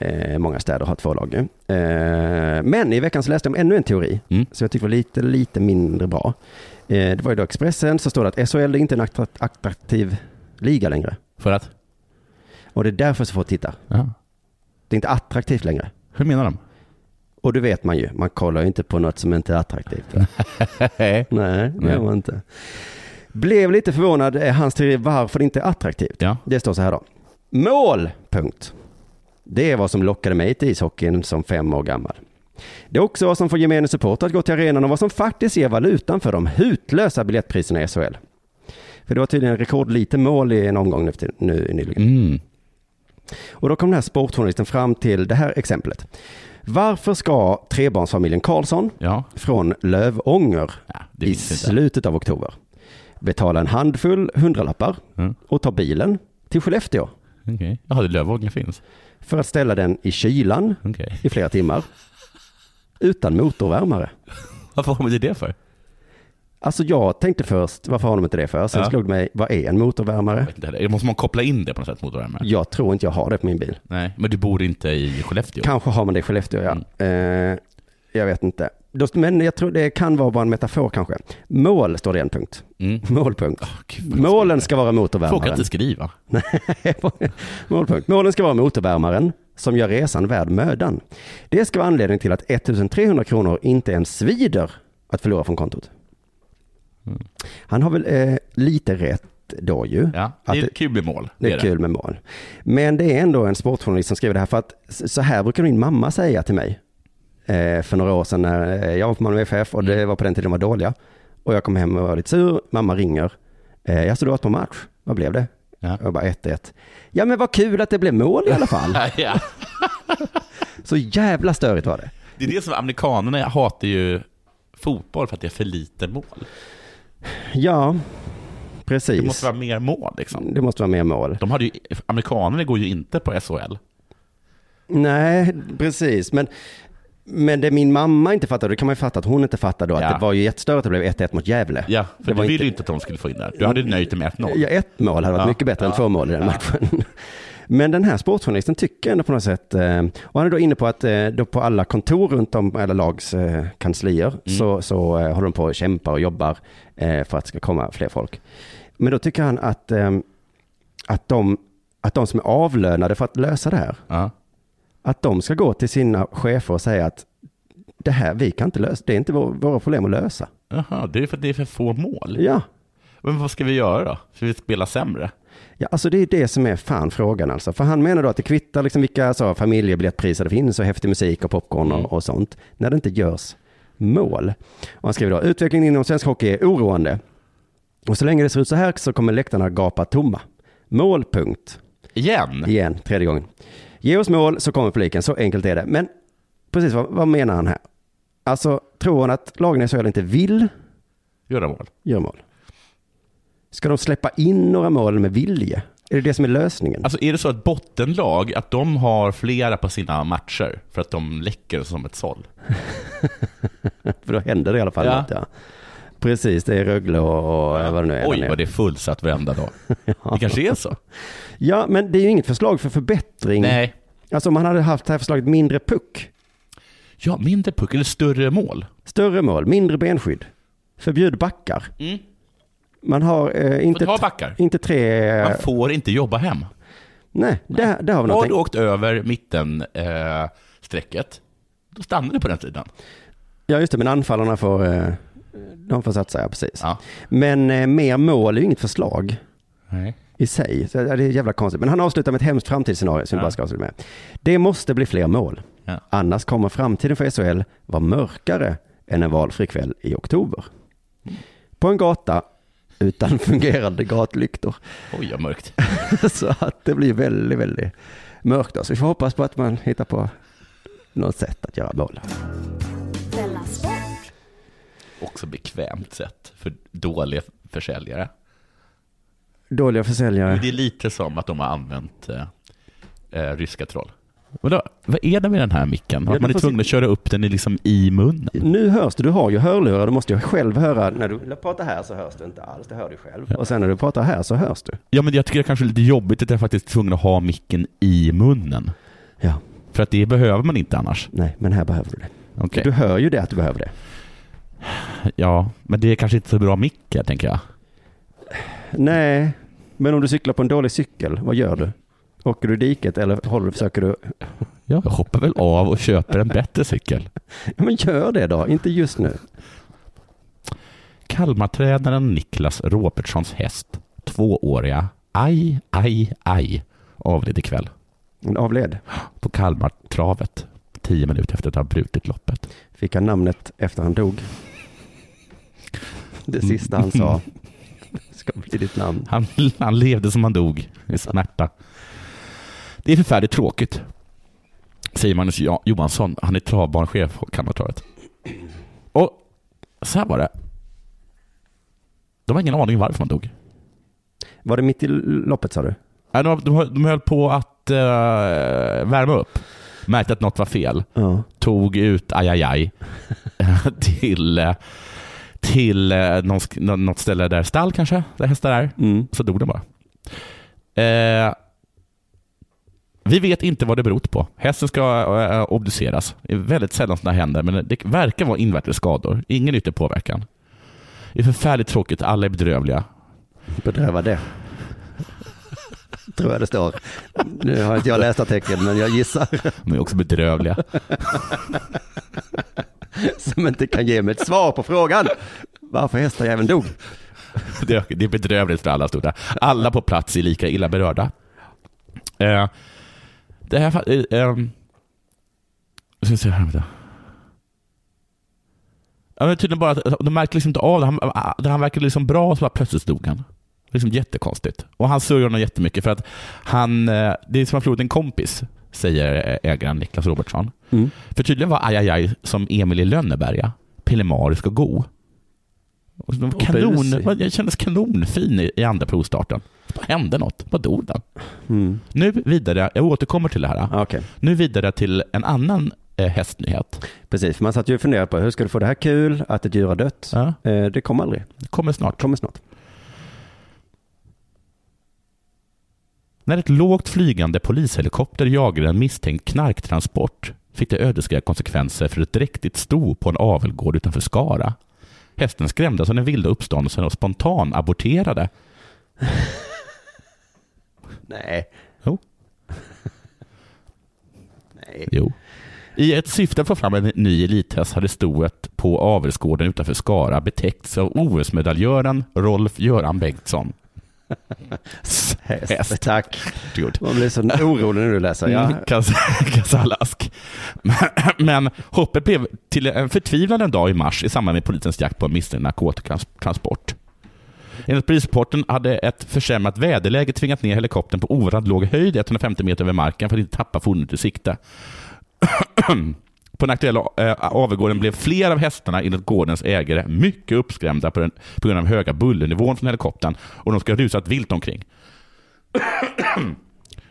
Speaker 2: Eh, många städer har två lag. ju. Eh, men i veckan så läste jag om ännu en teori,
Speaker 3: Mm.
Speaker 2: så jag tyckte var lite, lite mindre bra. Eh, det var ju då Expressen, så står det att SHL är inte en attra- attraktiv liga längre.
Speaker 3: För att?
Speaker 2: Och det är därför så få tittar.
Speaker 3: Ja.
Speaker 2: Det är inte attraktivt längre.
Speaker 3: Hur menar de?
Speaker 2: Och det vet man ju, man kollar ju inte på något som inte är attraktivt. va? Nej, det gör
Speaker 3: Nej.
Speaker 2: man inte. Blev lite förvånad, eh, hans teori varför det inte är attraktivt.
Speaker 3: Ja.
Speaker 2: Det står så här då. Mål! Punkt. Det är vad som lockade mig till ishockeyn som fem år gammal. Det är också vad som får gemene supporter att gå till arenan och vad som faktiskt ger valutan för de hutlösa biljettpriserna i SHL. För det var tydligen rekordlite mål i en omgång nu, till- nu nyligen.
Speaker 3: Mm.
Speaker 2: Och då kom den här sportjournalisten fram till det här exemplet. Varför ska trebarnsfamiljen Karlsson
Speaker 3: Ja.
Speaker 2: från Lövånger
Speaker 3: ja det
Speaker 2: i
Speaker 3: visste jag inte.
Speaker 2: slutet av oktober betala en handfull hundralappar
Speaker 3: Mm.
Speaker 2: och ta bilen till Skellefteå
Speaker 3: Okej. Jaha, det Lövågen finns.
Speaker 2: för att ställa den i kylan
Speaker 3: Okej.
Speaker 2: i flera timmar utan motorvärmare.
Speaker 3: Varför har de det för?
Speaker 2: Alltså jag tänkte först, varför har de inte det för? Sen
Speaker 3: Ja.
Speaker 2: slog det mig, vad är en motorvärmare?
Speaker 3: Jag vet inte heller. Måste man koppla in det på något sätt mot varandra?
Speaker 2: Jag tror inte jag har det på min bil.
Speaker 3: Nej, men du bor inte i Skellefteå?
Speaker 2: Kanske har man det i Skellefteå,
Speaker 3: Mm.
Speaker 2: ja. Eh, jag vet inte. Då- Men jag tror det kan vara bara en metafor kanske. Mål står det en punkt.
Speaker 3: Mm.
Speaker 2: Målpunkt.
Speaker 3: Gud, vad
Speaker 2: Målen ska vara
Speaker 3: Folk kan
Speaker 2: motorvärmaren.
Speaker 3: inte skriva.
Speaker 2: <laughs> Målpunkt. Målen ska vara motorvärmaren som gör resan värd mödan. Det ska vara anledningen till att 1300 kronor inte ens svider att förlora från kontot. Han har väl eh, lite rätt då ju.
Speaker 3: Mm. Ja,
Speaker 2: Att
Speaker 3: det är
Speaker 2: det-
Speaker 3: ett kul med mål.
Speaker 2: Det är kul med mål. Men det är ändå en sportjournalist som skriver det här för att s- så här brukar min mamma säga till mig eh, för några år sedan när eh, jag var på Malmö FF och det var på den tiden de var dåliga. Och jag kom hem och var lite sur, mamma ringer. Eh, jag stod du åt på match, vad blev det?
Speaker 3: Ja.
Speaker 2: Jag bara 1-1. Ja men vad kul att det blev mål i alla
Speaker 3: <laughs>
Speaker 2: fall.
Speaker 3: Ja, ja.
Speaker 2: Så jävla störigt var det.
Speaker 3: Det är det som amerikanerna hatar ju fotboll för att det är för lite mål.
Speaker 2: Ja, precis.
Speaker 3: Det måste vara mer mål liksom.
Speaker 2: Det måste vara mer mål.
Speaker 3: De hade ju, amerikanerna går ju inte på SHL.
Speaker 2: Nej, precis. Men, men det min mamma inte fattade, det kan man ju fatta att hon inte fattade då,
Speaker 3: Ja.
Speaker 2: att det var ju jättestörigt att det blev 1-1 mot Gävle.
Speaker 3: Ja,
Speaker 2: Det
Speaker 3: för
Speaker 2: var
Speaker 3: du ville
Speaker 2: inte-
Speaker 3: ju inte att de skulle få in det. här. Du hade nöjt dig med 1-0.
Speaker 2: Ja, ett mål hade varit
Speaker 3: Ja.
Speaker 2: mycket bättre än
Speaker 3: Ja.
Speaker 2: två mål i den matchen. <laughs> Men den här sportjournalisten tycker ändå på något sätt, eh, och han är då inne på att eh, då på alla kontor runt om, alla lags eh, kanslier,
Speaker 3: Mm.
Speaker 2: så, så eh, håller de på och kämpar och jobbar eh, för att det ska komma fler folk. Men då tycker han att, eh, att, de, att de som är avlönade för att lösa det här, att de ska gå till sina chefer och säga att det här, vi kan inte lösa, det är inte vår, våra problem att lösa.
Speaker 3: Jaha, det är för att det är för få mål.
Speaker 2: Ja.
Speaker 3: Men vad ska vi göra då? Ska vi spela sämre?
Speaker 2: Ja, alltså det är det som är fan frågan alltså. För han menar då att det kvittar liksom vilka så, familjebiljettpriser det finns och häftig musik och popcorn och, och sånt. När det inte görs mål. Och han skriver då, utvecklingen inom svensk hockey är oroande. Och så länge det ser ut så här så kommer läktarna gapa tomma. Mål, punkt.
Speaker 3: Igen?
Speaker 2: Igen, tredje gången. Ge oss mål så kommer publiken, så enkelt är det. Men precis, vad, vad menar han här? Alltså, tror han att lagen i SHL inte vill
Speaker 3: Göra mål?
Speaker 2: göra mål? Ska de släppa in några mål med vilje? Är det det som är lösningen?
Speaker 3: Alltså är det så att bottenlag, att de har flera på sina matcher för att de läcker som ett såll?
Speaker 2: För då händer det i alla fall
Speaker 3: Ja.
Speaker 2: något, ja. Precis, det är Rögle och, och vad det nu är. där
Speaker 3: Oj,
Speaker 2: nere.
Speaker 3: vad det är fullsatt
Speaker 2: <laughs>
Speaker 3: varenda dag. Det kanske är så.
Speaker 2: Ja, men det är ju inget förslag för förbättring.
Speaker 3: Nej.
Speaker 2: Alltså om man hade haft det här förslaget mindre puck,
Speaker 3: Ja, mindre puck eller större mål.
Speaker 2: större mål, mindre benskydd, förbjud backar.
Speaker 3: Mm.
Speaker 2: Man har eh, inte,
Speaker 3: ta
Speaker 2: t-
Speaker 3: backar.
Speaker 2: inte tre...
Speaker 3: Man får inte jobba hem.
Speaker 2: Nej, Där, där har vi
Speaker 3: Har du
Speaker 2: någonting.
Speaker 3: åkt över mitten eh, strecket, då stannar du på den sidan.
Speaker 2: Ja, just det, men anfallarna får... Eh, de får satsa, ja precis.
Speaker 3: Ja.
Speaker 2: Men eh, mer mål är ju inget förslag.
Speaker 3: Nej.
Speaker 2: i sig. Så ja, det är jävla konstigt. Men han avslutar med ett hemskt framtidsscenario som vi
Speaker 3: Ja.
Speaker 2: bara ska avsluta med. Det måste bli fler mål.
Speaker 3: Ja.
Speaker 2: Annars kommer framtiden för SHL vara mörkare än en valfri kväll i oktober. På en gata utan <laughs> fungerande gatlyktor. <laughs>
Speaker 3: Oj, vad mörkt.
Speaker 2: Så att det blir väldigt, väldigt mörkt. då. Så vi får hoppas på att man hittar på något sätt att göra mål.
Speaker 3: Också bekvämt sätt för dåliga försäljare.
Speaker 2: Dåliga försäljare.
Speaker 3: Men Det är lite som att de har använt eh, eh, ryska troll. Vadå? Vad är det med den här micken?
Speaker 2: Ja,
Speaker 3: Att man
Speaker 2: den
Speaker 3: är
Speaker 2: får
Speaker 3: tvungen att köra upp den i- liksom i munnen?
Speaker 2: Nu hörs det. Du har ju hörlurar. Du måste ju själv höra. När du pratar här så hörs det inte alls. Det hör du själv. Och sen när du pratar här så hörs du.
Speaker 3: Ja, men jag tycker det kanske är lite jobbigt att jag faktiskt är tvungen att ha micken i munnen.
Speaker 2: Ja.
Speaker 3: För att det behöver man inte annars.
Speaker 2: Nej, men här behöver du det.
Speaker 3: Okej.
Speaker 2: Du hör ju det att du behöver det.
Speaker 3: Ja, men det är kanske inte så bra mickar, tänker jag.
Speaker 2: Nej, men om du cyklar på en dålig cykel, vad gör du? Åker du i diket eller håller, försöker du?
Speaker 3: Ja, jag hoppar väl av och köper en bättre cykel.
Speaker 2: Ja, men gör det då, inte just nu.
Speaker 3: Kalmartränaren Niklas Robertssons häst, tvååriga, aj, aj, aj, avled ikväll
Speaker 2: En avled.
Speaker 3: på Kalmartravet, tio minuter efter att ha brutit loppet.
Speaker 2: Fick han namnet efter han dog? Det sista han sa <laughs> ska bli ditt namn.
Speaker 3: Han, han levde som han dog, i smärta. Det är förfärligt tråkigt, säger Magnus Jo- Johansson. Han är travbanechef på Kalmartravet. Och så här var det. De har ingen aning varför han dog.
Speaker 2: Var det mitt i loppet sa du?
Speaker 3: Nej, de, de, höll- de höll på att eh, värma upp. Märkte att något var fel.
Speaker 2: Ja.
Speaker 3: Tog ut ajajaj <laughs> till, eh, till eh, någon, sk- nå- något ställe där stall kanske, där hästar är.
Speaker 2: Mm.
Speaker 3: Så dog den bara. Eh, vi vet inte vad det beror på. Hästen ska eh, obduceras. Det är väldigt sällan sådana händer, men det verkar vara invärtes skador. Ingen yttre påverkan. Det är förfärligt tråkigt. Alla är bedrövliga.
Speaker 2: Bedröva det. Tror jag det står. Nu har inte jag läst artikeln, men jag gissar.
Speaker 3: De är också bedrövliga. <laughs>
Speaker 2: Som inte kan ge mig ett svar på frågan. Varför hästar även dog?
Speaker 3: Det, det är bedrövligt för alla stora. Alla på plats är lika illa berörda. Eh, det här... fa- Eh, ehm, jag ska se här, vänta. Ja, men tydligen bara att de märkte liksom inte av det. Han, han verkade liksom bra och så bara plötsligt dog han. Liksom jättekonstigt. Och han sörjer honom jättemycket för att han... eh, Det är som att han förlorat en kompis, eh, säger ägaren Niklas Robertsson. För tydligen var Ajajaj som Emil i Lönneberga pillemarisk och god. Och de var
Speaker 2: Och
Speaker 3: kanon,
Speaker 2: busig.
Speaker 3: vad- jag kändes kanonfin i, i andra provstarten. Vad hände något? Vad dog den? Nu vidare, jag återkommer till det
Speaker 2: Ah,
Speaker 3: här. Nu vidare till en annan eh, hästnyhet.
Speaker 2: Precis, för man satt ju och funderade på hur ska du få det här kul att ett djur har dött? Eh, Det kommer aldrig.
Speaker 3: Det kommer snart.
Speaker 2: kommer snart.
Speaker 3: När ett lågt flygande polishelikopter jagade en misstänkt knarktransport fick det ödesdigra konsekvenser för ett dräktigt sto på en avelgård utanför Skara. Hästen skrämdes av den vilda uppståndelsen och spontan aborterade.
Speaker 2: Nej.
Speaker 3: Jo. Jo. I ett syfte att få fram en ny elithäst hade stoet på avelsgården utanför Skara betäckts av OS-medaljören Rolf-Göran Bengtsson. Häst.
Speaker 2: Tack. Mm.
Speaker 3: Man
Speaker 2: blir så orolig när du läser.
Speaker 3: alltså,
Speaker 2: Ja.
Speaker 3: <laughs> Kasalask. Men hoppet blev till en förtvivlan en dag i mars i samband med polisens jakt på en misstänkt narkotikatransport. Enligt polisrapporten hade ett försämrat väderläge tvingat ner helikoptern på oerhört låg höjd, 150 meter över marken, för att inte tappa fordonet ur sikte. <clears throat> på den aktuella eh, avgården blev flera av hästarna enligt gårdens ägare mycket uppskrämda på, den, på grund av höga bullernivån från helikoptern och de ska ha rusat vilt omkring.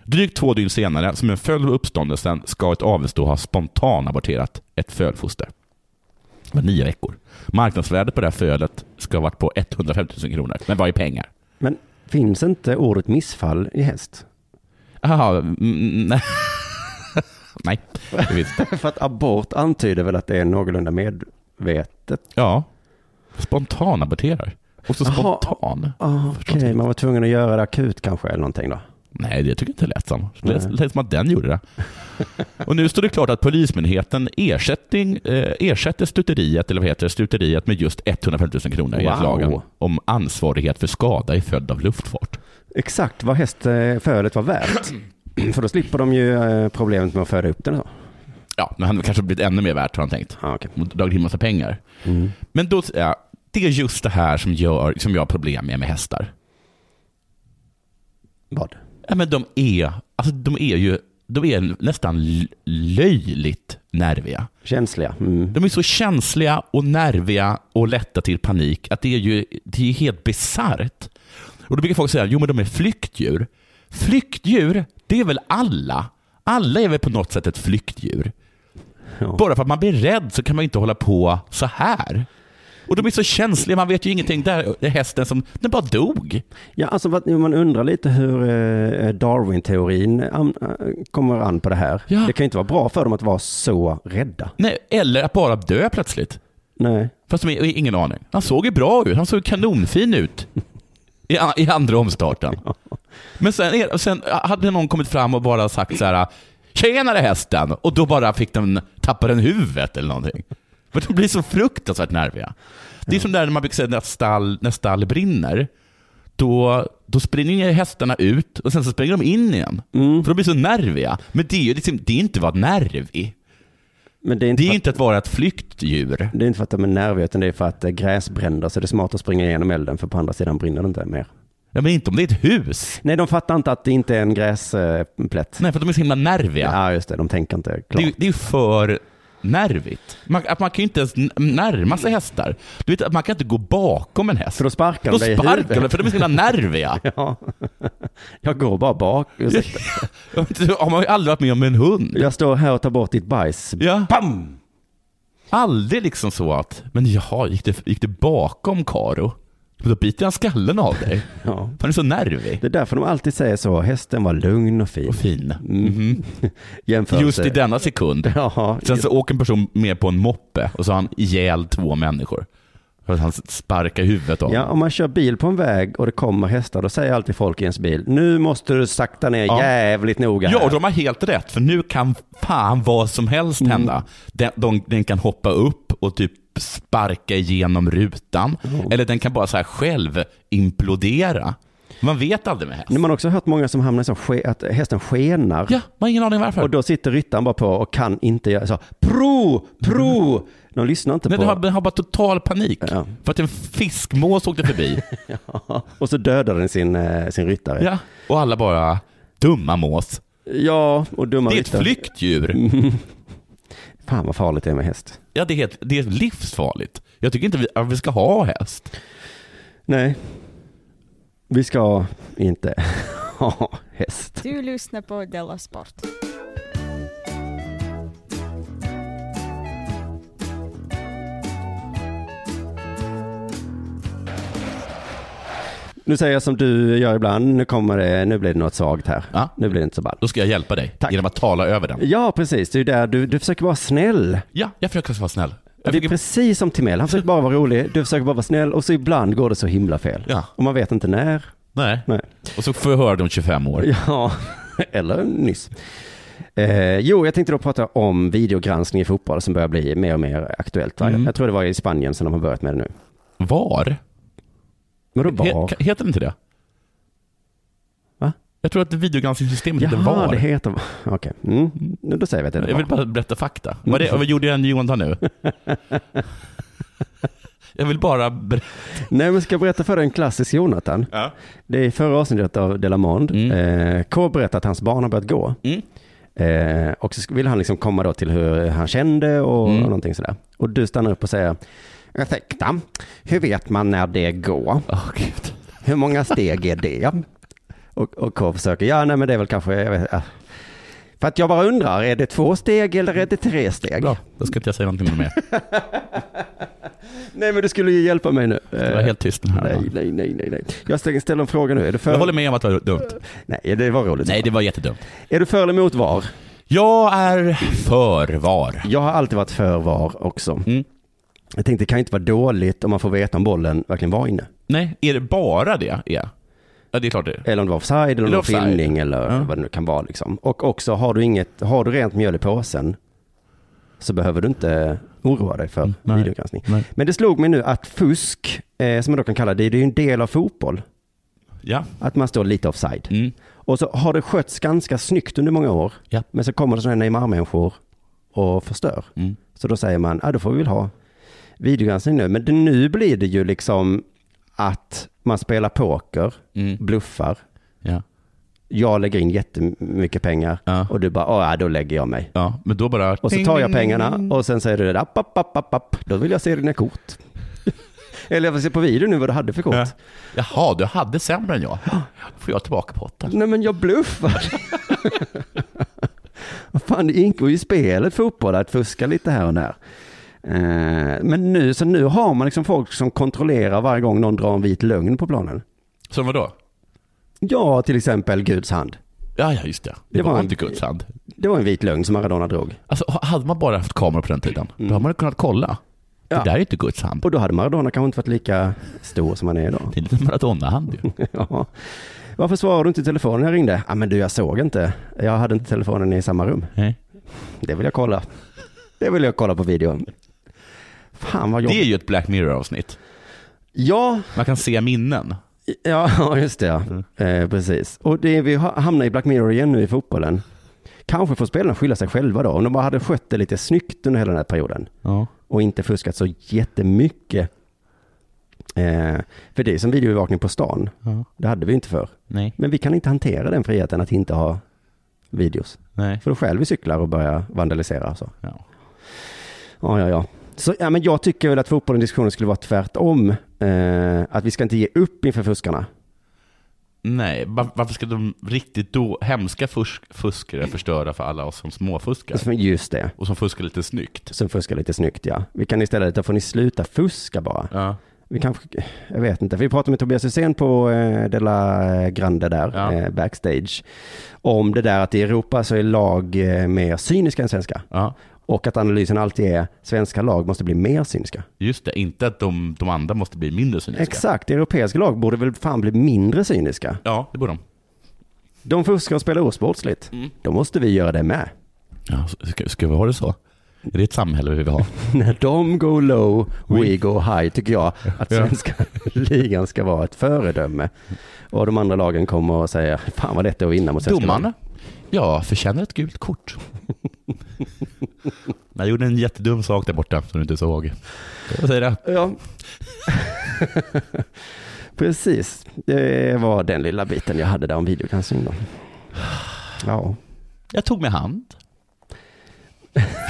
Speaker 3: Drygt två dygn senare, som en följd av uppståndelsen, ska ett avelsdo ha spontanaborterat ett fölfoster. Det var nio veckor. Marknadsvärdet på det här fölet ska ha varit på 150 000 kronor. Men vad är pengar?
Speaker 2: Men finns inte ordet missfall i häst?
Speaker 3: Jaha, mm, nej. <laughs> nej, det visste
Speaker 2: <laughs> För att abort antyder väl att det är någorlunda medvetet?
Speaker 3: Ja. Spontanaborterar. Och så spontan.
Speaker 2: Okej, man var tvungen att göra det akut kanske eller någonting då?
Speaker 3: Nej, det tycker jag inte lät som. Det
Speaker 2: Nej.
Speaker 3: lät, lät som att den
Speaker 2: <laughs>
Speaker 3: gjorde det. Och nu står det klart att Polismyndigheten ersättning, eh, ersätter stuteriet, eller vad heter det, stuteriet med just 150 000 kronor enligt
Speaker 2: Wow.
Speaker 3: lagen om ansvarighet för skada i följd av luftfart.
Speaker 2: Exakt vad hästfölet var värt. <clears throat> För då slipper de ju eh, problemet med att föda upp den och så.
Speaker 3: Ja, men han hade kanske blivit ännu mer värt har han tänkt.
Speaker 2: Ah,
Speaker 3: Och dragit in massa pengar.
Speaker 2: Mm.
Speaker 3: Men då, ja, det är just det här som, gör, som jag har problem med med hästar.
Speaker 2: Vad?
Speaker 3: Ja, men de är, alltså, de är ju de är nästan l- löjligt nerviga.
Speaker 2: Känsliga. Mm.
Speaker 3: De är så känsliga och nerviga och lätta till panik att det är ju det är ju helt bisarrt. Och då brukar folk säga, jo men de är flyktdjur. Flyktdjur, det är väl alla? Alla är väl på något sätt ett flyktdjur? Bara för att man blir rädd så kan man inte hålla på så här. Och de är så känsliga, man vet ju ingenting. Där är hästen som, den bara dog.
Speaker 2: Ja, alltså vad- man undrar lite hur eh, Darwin-teorin an, eh, kommer an på det här. Det kan ju inte vara bra för dem att vara så rädda.
Speaker 3: Nej, eller att bara dö plötsligt.
Speaker 2: Nej.
Speaker 3: Fast de har ingen aning. Han såg ju bra ut. Han såg kanonfin ut i, a- i andra omstarten. Men sen, är- sen hade någon kommit fram och bara sagt så här Tjenare hästen! Och då bara fick den, tappade den huvudet eller någonting. För de blir så fruktansvärt nerviga. Det är som där när man brukar säga när stall, när stall brinner. Då, då springer hästarna ut och sen så springer de in igen. För de blir så nerviga. Men det är ju liksom, det är inte att vara nervig.
Speaker 2: Men det är inte,
Speaker 3: det är inte att vara ett flyktdjur.
Speaker 2: Det är inte för att de är nerviga, utan det är för att eh, gräs bränner, så det är smart att springa igenom elden, för på andra sidan brinner det inte mer.
Speaker 3: Ja, men inte om det är ett hus.
Speaker 2: Nej, de fattar inte att det inte är en gräsplätt.
Speaker 3: Nej, för de är så himla nerviga.
Speaker 2: Ja, just det. De tänker inte klart.
Speaker 3: Det är, ju- det är ju för nervigt. Man, att man kan ju inte ens n- närma sig hästar. Du vet att man kan inte gå bakom en häst. För då
Speaker 2: sparkar de dig i huvudet.
Speaker 3: sparkar de, för de är så himla nerviga.
Speaker 2: <laughs> Ja. Jag går bara
Speaker 3: <laughs>
Speaker 2: bak. ursäkta.
Speaker 3: Det har man ju aldrig varit med om med en hund.
Speaker 2: Jag står här och tar bort ditt bajs.
Speaker 3: Ja. Bam! Aldrig liksom så att, men jaha, gick det, gick det bakom Karo? Då biter han skallen av dig.
Speaker 2: Ja.
Speaker 3: Han är så nervig.
Speaker 2: Det är därför de alltid säger så. Hästen var lugn och fin. Och
Speaker 3: fin.
Speaker 2: Mm,
Speaker 3: Just
Speaker 2: Jämförelse.
Speaker 3: i denna sekund.
Speaker 2: <laughs> Ja,
Speaker 3: Sen så åker en person med på en moppe och så har han ihjäl två människor. För att han sparkar huvudet av
Speaker 2: Ja,
Speaker 3: dem.
Speaker 2: om man kör bil på en väg och det kommer hästar, då säger alltid folk i ens bil, nu måste du sakta ner
Speaker 3: Ja.
Speaker 2: jävligt noga.
Speaker 3: Ja,
Speaker 2: här."
Speaker 3: och de har helt rätt, för nu kan fan vad som helst
Speaker 2: Mm.
Speaker 3: hända. Den, de, den kan hoppa upp och typ sparka igenom rutan,
Speaker 2: Mm.
Speaker 3: eller den kan bara så här själv implodera. Man vet aldrig med häst.
Speaker 2: Men man har också hört många som hamnar i så ske- att hästen skenar.
Speaker 3: Ja, man har ingen aning varför.
Speaker 2: Och då sitter ryttaren bara på och kan inte göra så. Pro, pro! De lyssnar inte
Speaker 3: Nej,
Speaker 2: på.
Speaker 3: den har, den har bara total panik,
Speaker 2: Ja.
Speaker 3: för att en fiskmås
Speaker 2: <laughs>
Speaker 3: åkte förbi.
Speaker 2: Och så dödar den sin, eh, sin ryttare.
Speaker 3: ja. Och alla bara, dumma mås.
Speaker 2: Ja, och dumma
Speaker 3: Det är ett
Speaker 2: ryttare.
Speaker 3: flyktdjur.
Speaker 2: Fan vad farligt det är med häst.
Speaker 3: Ja, det är, helt, det är livsfarligt. Jag tycker inte vi, att vi ska ha häst.
Speaker 2: Nej, vi ska inte <laughs> ha häst.
Speaker 8: Du lyssnar på Della Sport.
Speaker 2: Nu säger jag som du gör ibland, nu kommer det, nu blir det något svagt här.
Speaker 3: Ja.
Speaker 2: Nu blir det inte så ball.
Speaker 3: Då ska jag hjälpa dig genom att tala över den.
Speaker 2: Ja, precis. Det är ju där du, du försöker vara snäll.
Speaker 3: Ja, jag försöker vara snäll.
Speaker 2: Det är precis som Timell, han försöker bara vara rolig, du försöker bara vara snäll och så ibland går det så himla fel.
Speaker 3: Ja.
Speaker 2: Och man vet inte när.
Speaker 3: Nej. Och så får jag höra det om 25 år.
Speaker 2: Ja, <laughs> eller nyss. Eh, jo, jag tänkte då prata om videogranskning i fotboll som börjar bli mer och mer aktuellt. Va?
Speaker 3: Mm.
Speaker 2: Jag tror det var i Spanien som de har börjat med det nu.
Speaker 3: Var?
Speaker 2: Vadå var?
Speaker 3: He- heter det inte det?
Speaker 2: Va?
Speaker 3: Jag tror att videogranskningssystemet heter
Speaker 2: Jaha,
Speaker 3: VAR.
Speaker 2: det heter... Okej, mm. Nu- då säger vi att det är
Speaker 3: Jag vill bara berätta fakta. Vad, det, vad gjorde jag i Johan <laughs> nu? jag vill bara berätta.
Speaker 2: Nej, men ska jag berätta för dig en klassisk Jonathan?
Speaker 3: Ja. Mm.
Speaker 2: Det är i förra avsnittet av Delamond. Eh, K berättar att hans barn har börjat gå. Eh, och så sk- vill han liksom komma då till hur han kände och
Speaker 3: Mm.
Speaker 2: någonting sådär. Och du stannar upp och säger, ursäkta, hur vet man när det går? Hur många steg är det? Och, och K försöker, ja nej men det är väl kanske, jag vet, ja. för att jag bara undrar, är det två steg eller är det tre steg?
Speaker 3: Bra, då ska inte jag säga någonting <laughs> mer.
Speaker 2: Nej men du skulle ju hjälpa mig nu. Eh,
Speaker 3: Jag var helt tyst den här.
Speaker 2: Nej, nej, nej, nej, nej. Jag ställer ställer en fråga nu. Är du för...
Speaker 3: Jag håller med om att det var <laughs> dumt.
Speaker 2: Nej, det var roligt.
Speaker 3: Nej, det var jättedumt.
Speaker 2: Är du för eller emot VAR?
Speaker 3: Jag är för VAR.
Speaker 2: Jag har alltid varit för VAR också.
Speaker 3: Mm.
Speaker 2: Jag tänkte, det kan ju inte vara dåligt om man får veta om bollen verkligen var inne.
Speaker 3: Nej, är det bara det? Ja, ja det är klart det är.
Speaker 2: Eller om det var offside, eller om
Speaker 3: Eller
Speaker 2: det var
Speaker 3: offside.
Speaker 2: filmning, eller vad det nu kan vara. Liksom. Och också, har du, inget, har du rent mjöl i påsen så behöver du inte oroa dig för videogranskning. Men det slog mig nu att fusk, eh, som man då kan kalla det, det är ju en del av fotboll.
Speaker 3: Ja.
Speaker 2: Att man står lite offside. Och så har det skötts ganska snyggt under många år.
Speaker 3: Ja.
Speaker 2: Men så kommer det sådana här Neymar-människor och förstör. Så då säger man, ja då får vi väl ha videogranskning nu. Men det, nu blir det ju liksom att man spelar poker, bluffar.
Speaker 3: Ja.
Speaker 2: Jag lägger in jättemycket pengar och du bara, "Åh, ja då lägger jag mig.
Speaker 3: Ja, men då bara...
Speaker 2: Och så tar jag pengarna och sen säger du, app, app, app, app, app. då vill jag se dina kort. <laughs> Eller jag vill se på video nu vad du hade för kort.
Speaker 3: Jaha, du hade sämre än jag. Då får jag tillbaka potten.
Speaker 2: Nej men jag bluffar. <laughs> Vad Fan, det ingår ju i spelet fotboll att fuska lite här och där. Eh, Men nu, så nu har man liksom folk som kontrollerar varje gång någon drar en vit lögn på planen.
Speaker 3: Som vadå?
Speaker 2: Ja, till exempel Guds hand.
Speaker 3: Ja, ja, just det. Det,
Speaker 2: Det
Speaker 3: var,
Speaker 2: var en-
Speaker 3: inte Guds hand.
Speaker 2: Det var en vit lögn som Maradona drog.
Speaker 3: Alltså, ha- hade man bara haft kameror på den tiden, då hade man kunnat kolla. Det
Speaker 2: Ja.
Speaker 3: där är inte Guds hand.
Speaker 2: Och då hade Maradona kanske inte varit lika stor som han är <laughs> idag.
Speaker 3: Det är lite Maradona-hand ju.
Speaker 2: ja. Varför svarar du inte i telefonen när jag ringde? Ja, men du, jag såg inte. Jag hade inte telefonen i samma rum.
Speaker 3: <laughs> Nej.
Speaker 2: Det vill jag kolla. Det vill jag kolla på videon. Fan vad
Speaker 3: Det är
Speaker 2: jobbigt.
Speaker 3: ju ett Black Mirror-avsnitt.
Speaker 2: Ja,
Speaker 3: Man kan se minnen.
Speaker 2: Ja, <laughs> ja, just det. Ja. Eh, precis. Och det, vi ha- hamnar i Black Mirror igen nu i fotbollen. Kanske får spelarna skylla sig själva då. Om de bara hade skött det lite snyggt under hela den här perioden
Speaker 3: Ja.
Speaker 2: och inte fuskat så jättemycket. Eh, för det är som videoövervakning på stan.
Speaker 3: Ja.
Speaker 2: Det hade vi inte för.
Speaker 3: Nej.
Speaker 2: Men vi kan inte hantera den friheten att inte ha videos.
Speaker 3: Nej.
Speaker 2: För då stjäl vi cyklar och börjar vandalisera. och Så.
Speaker 3: Ja.
Speaker 2: Ja, ja, ja. Så, ja, men jag tycker väl att fotbollen i diskussionen skulle vara tvärtom. Eh, att vi ska inte ge upp inför fuskarna.
Speaker 3: Nej, va- varför ska de riktigt då hemska fusk- fuskare förstöra för alla oss som småfuskar?
Speaker 2: <laughs> Just det.
Speaker 3: Och som fuskar lite snyggt.
Speaker 2: som fuskar lite snyggt ja. Vi kan istället, då får ni sluta fuska bara.
Speaker 3: Ja.
Speaker 2: Vi kanske, jag vet inte, vi pratade med Tobias Hysén på eh, Della Grande där,
Speaker 3: Ja.
Speaker 2: eh, backstage, om det där att i Europa så är lag eh, mer cyniska än svenska.
Speaker 3: Ja.
Speaker 2: Och att analysen alltid är, svenska lag måste bli mer cyniska.
Speaker 3: Just det, inte att de, de andra måste bli mindre cyniska.
Speaker 2: Exakt, europeiska lag borde väl fan bli mindre cyniska.
Speaker 3: Ja, det borde de.
Speaker 2: De fuskar och spelar osportsligt.
Speaker 3: Mm.
Speaker 2: Då måste vi göra det med.
Speaker 3: Ja, så- ska, ska vi ha det så? Är det ett samhälle vi vill ha?
Speaker 2: När de go low, we go high, tycker jag att svenska <laughs> ligan ska vara ett föredöme. Och de andra lagen kommer att säga, fan vad lätt det är att vinna mot svenska
Speaker 3: Domarna?
Speaker 2: lag."
Speaker 3: Ja, förtjänar ett gult kort. <laughs> Jag gjorde en jättedum sak där borta som du inte såg. Jag säger det.
Speaker 2: Ja. <laughs> Precis, det var den lilla biten jag hade där om videogranskning då. Ja,
Speaker 3: <laughs> Jag tog med hand.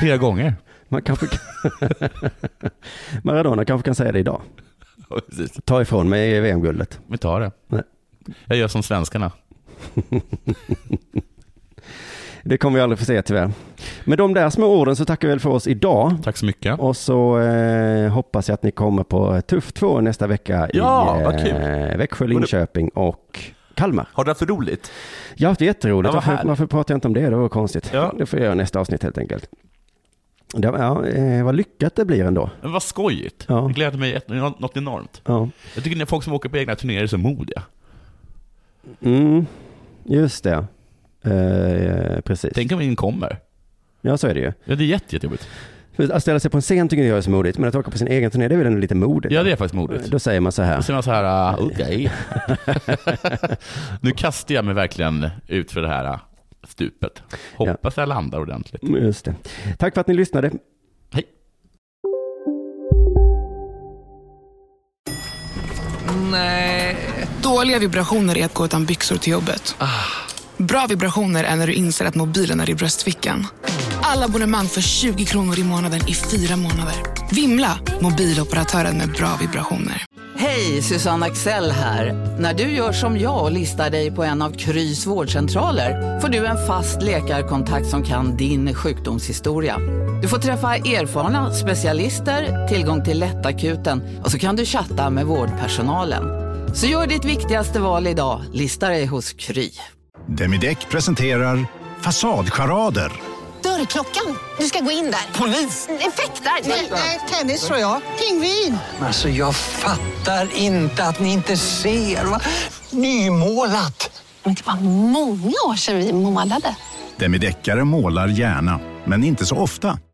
Speaker 3: Flera gånger.
Speaker 2: Man kanske kan... <laughs> Maradona kanske kan säga det idag. Ta ifrån mig E VM-guldet.
Speaker 3: Vi tar det.
Speaker 2: Nej.
Speaker 3: Jag gör som svenskarna.
Speaker 2: Det kommer vi aldrig få se tyvärr. Med de där små orden så tackar vi väl för oss idag.
Speaker 3: Tack så mycket.
Speaker 2: Och så eh, hoppas jag att ni kommer på Tuff 2 nästa vecka
Speaker 3: Ja,
Speaker 2: i eh,
Speaker 3: vad kul.
Speaker 2: Växjö, Linköping och Kalmar.
Speaker 3: Har du haft roligt?
Speaker 2: Jag har haft jätteroligt.
Speaker 3: Ja, vad
Speaker 2: varför,
Speaker 3: härligt.
Speaker 2: varför pratar jag inte om det? Det var konstigt. Det får jag göra i nästa avsnitt helt enkelt. Det, ja, eh, vad lyckat det blir ändå.
Speaker 3: Men vad skojigt.
Speaker 2: Ja.
Speaker 3: Det gläder mig ett- nå- något enormt.
Speaker 2: Ja.
Speaker 3: Jag tycker när folk som åker på egna turnéer är så modiga.
Speaker 2: Mm, just det. Eh, precis.
Speaker 3: Tänk om ingen kommer.
Speaker 2: Ja, så är det ju.
Speaker 3: Ja, det är jätte, jättejobbigt.
Speaker 2: För Att ställa sig på en scen tycker inte jag är så modigt, men att åka på sin egen turné, det är väl ändå lite modigt?
Speaker 3: Ja, det är faktiskt modigt.
Speaker 2: Då säger man så här.
Speaker 3: Då säger man så här, uh, okej. <laughs> nu kastar jag mig verkligen ut för det här uh, stupet. Hoppas jag landar ordentligt.
Speaker 2: Just det. Tack för att ni lyssnade.
Speaker 9: Nej. Dåliga vibrationer är att gå utan byxor till jobbet. Bra vibrationer är när du inser att mobilen är i bröstfickan. Alla abonnemang för 20 kronor i månaden i fyra månader. Vimla! Mobiloperatören med bra vibrationer.
Speaker 10: Hej, Susanne Axel här. När du gör som jag och listar dig på en av Krys vårdcentraler får du en fast läkarkontakt som kan din sjukdomshistoria. Du får träffa erfarna specialister, tillgång till lättakuten och så kan du chatta med vårdpersonalen. Så gör ditt viktigaste val idag, listar dig hos Kry.
Speaker 11: Demideck presenterar Fasadcharader.
Speaker 12: Dörrklockan. Du ska gå in där. Polis? Effektar? Nej, tennis tror jag. Pingvin.
Speaker 13: Alltså jag fattar inte att ni inte ser. Va? Nymålat!
Speaker 12: Men det var många år sedan vi målade.
Speaker 11: Demideckare målar gärna, men inte så ofta.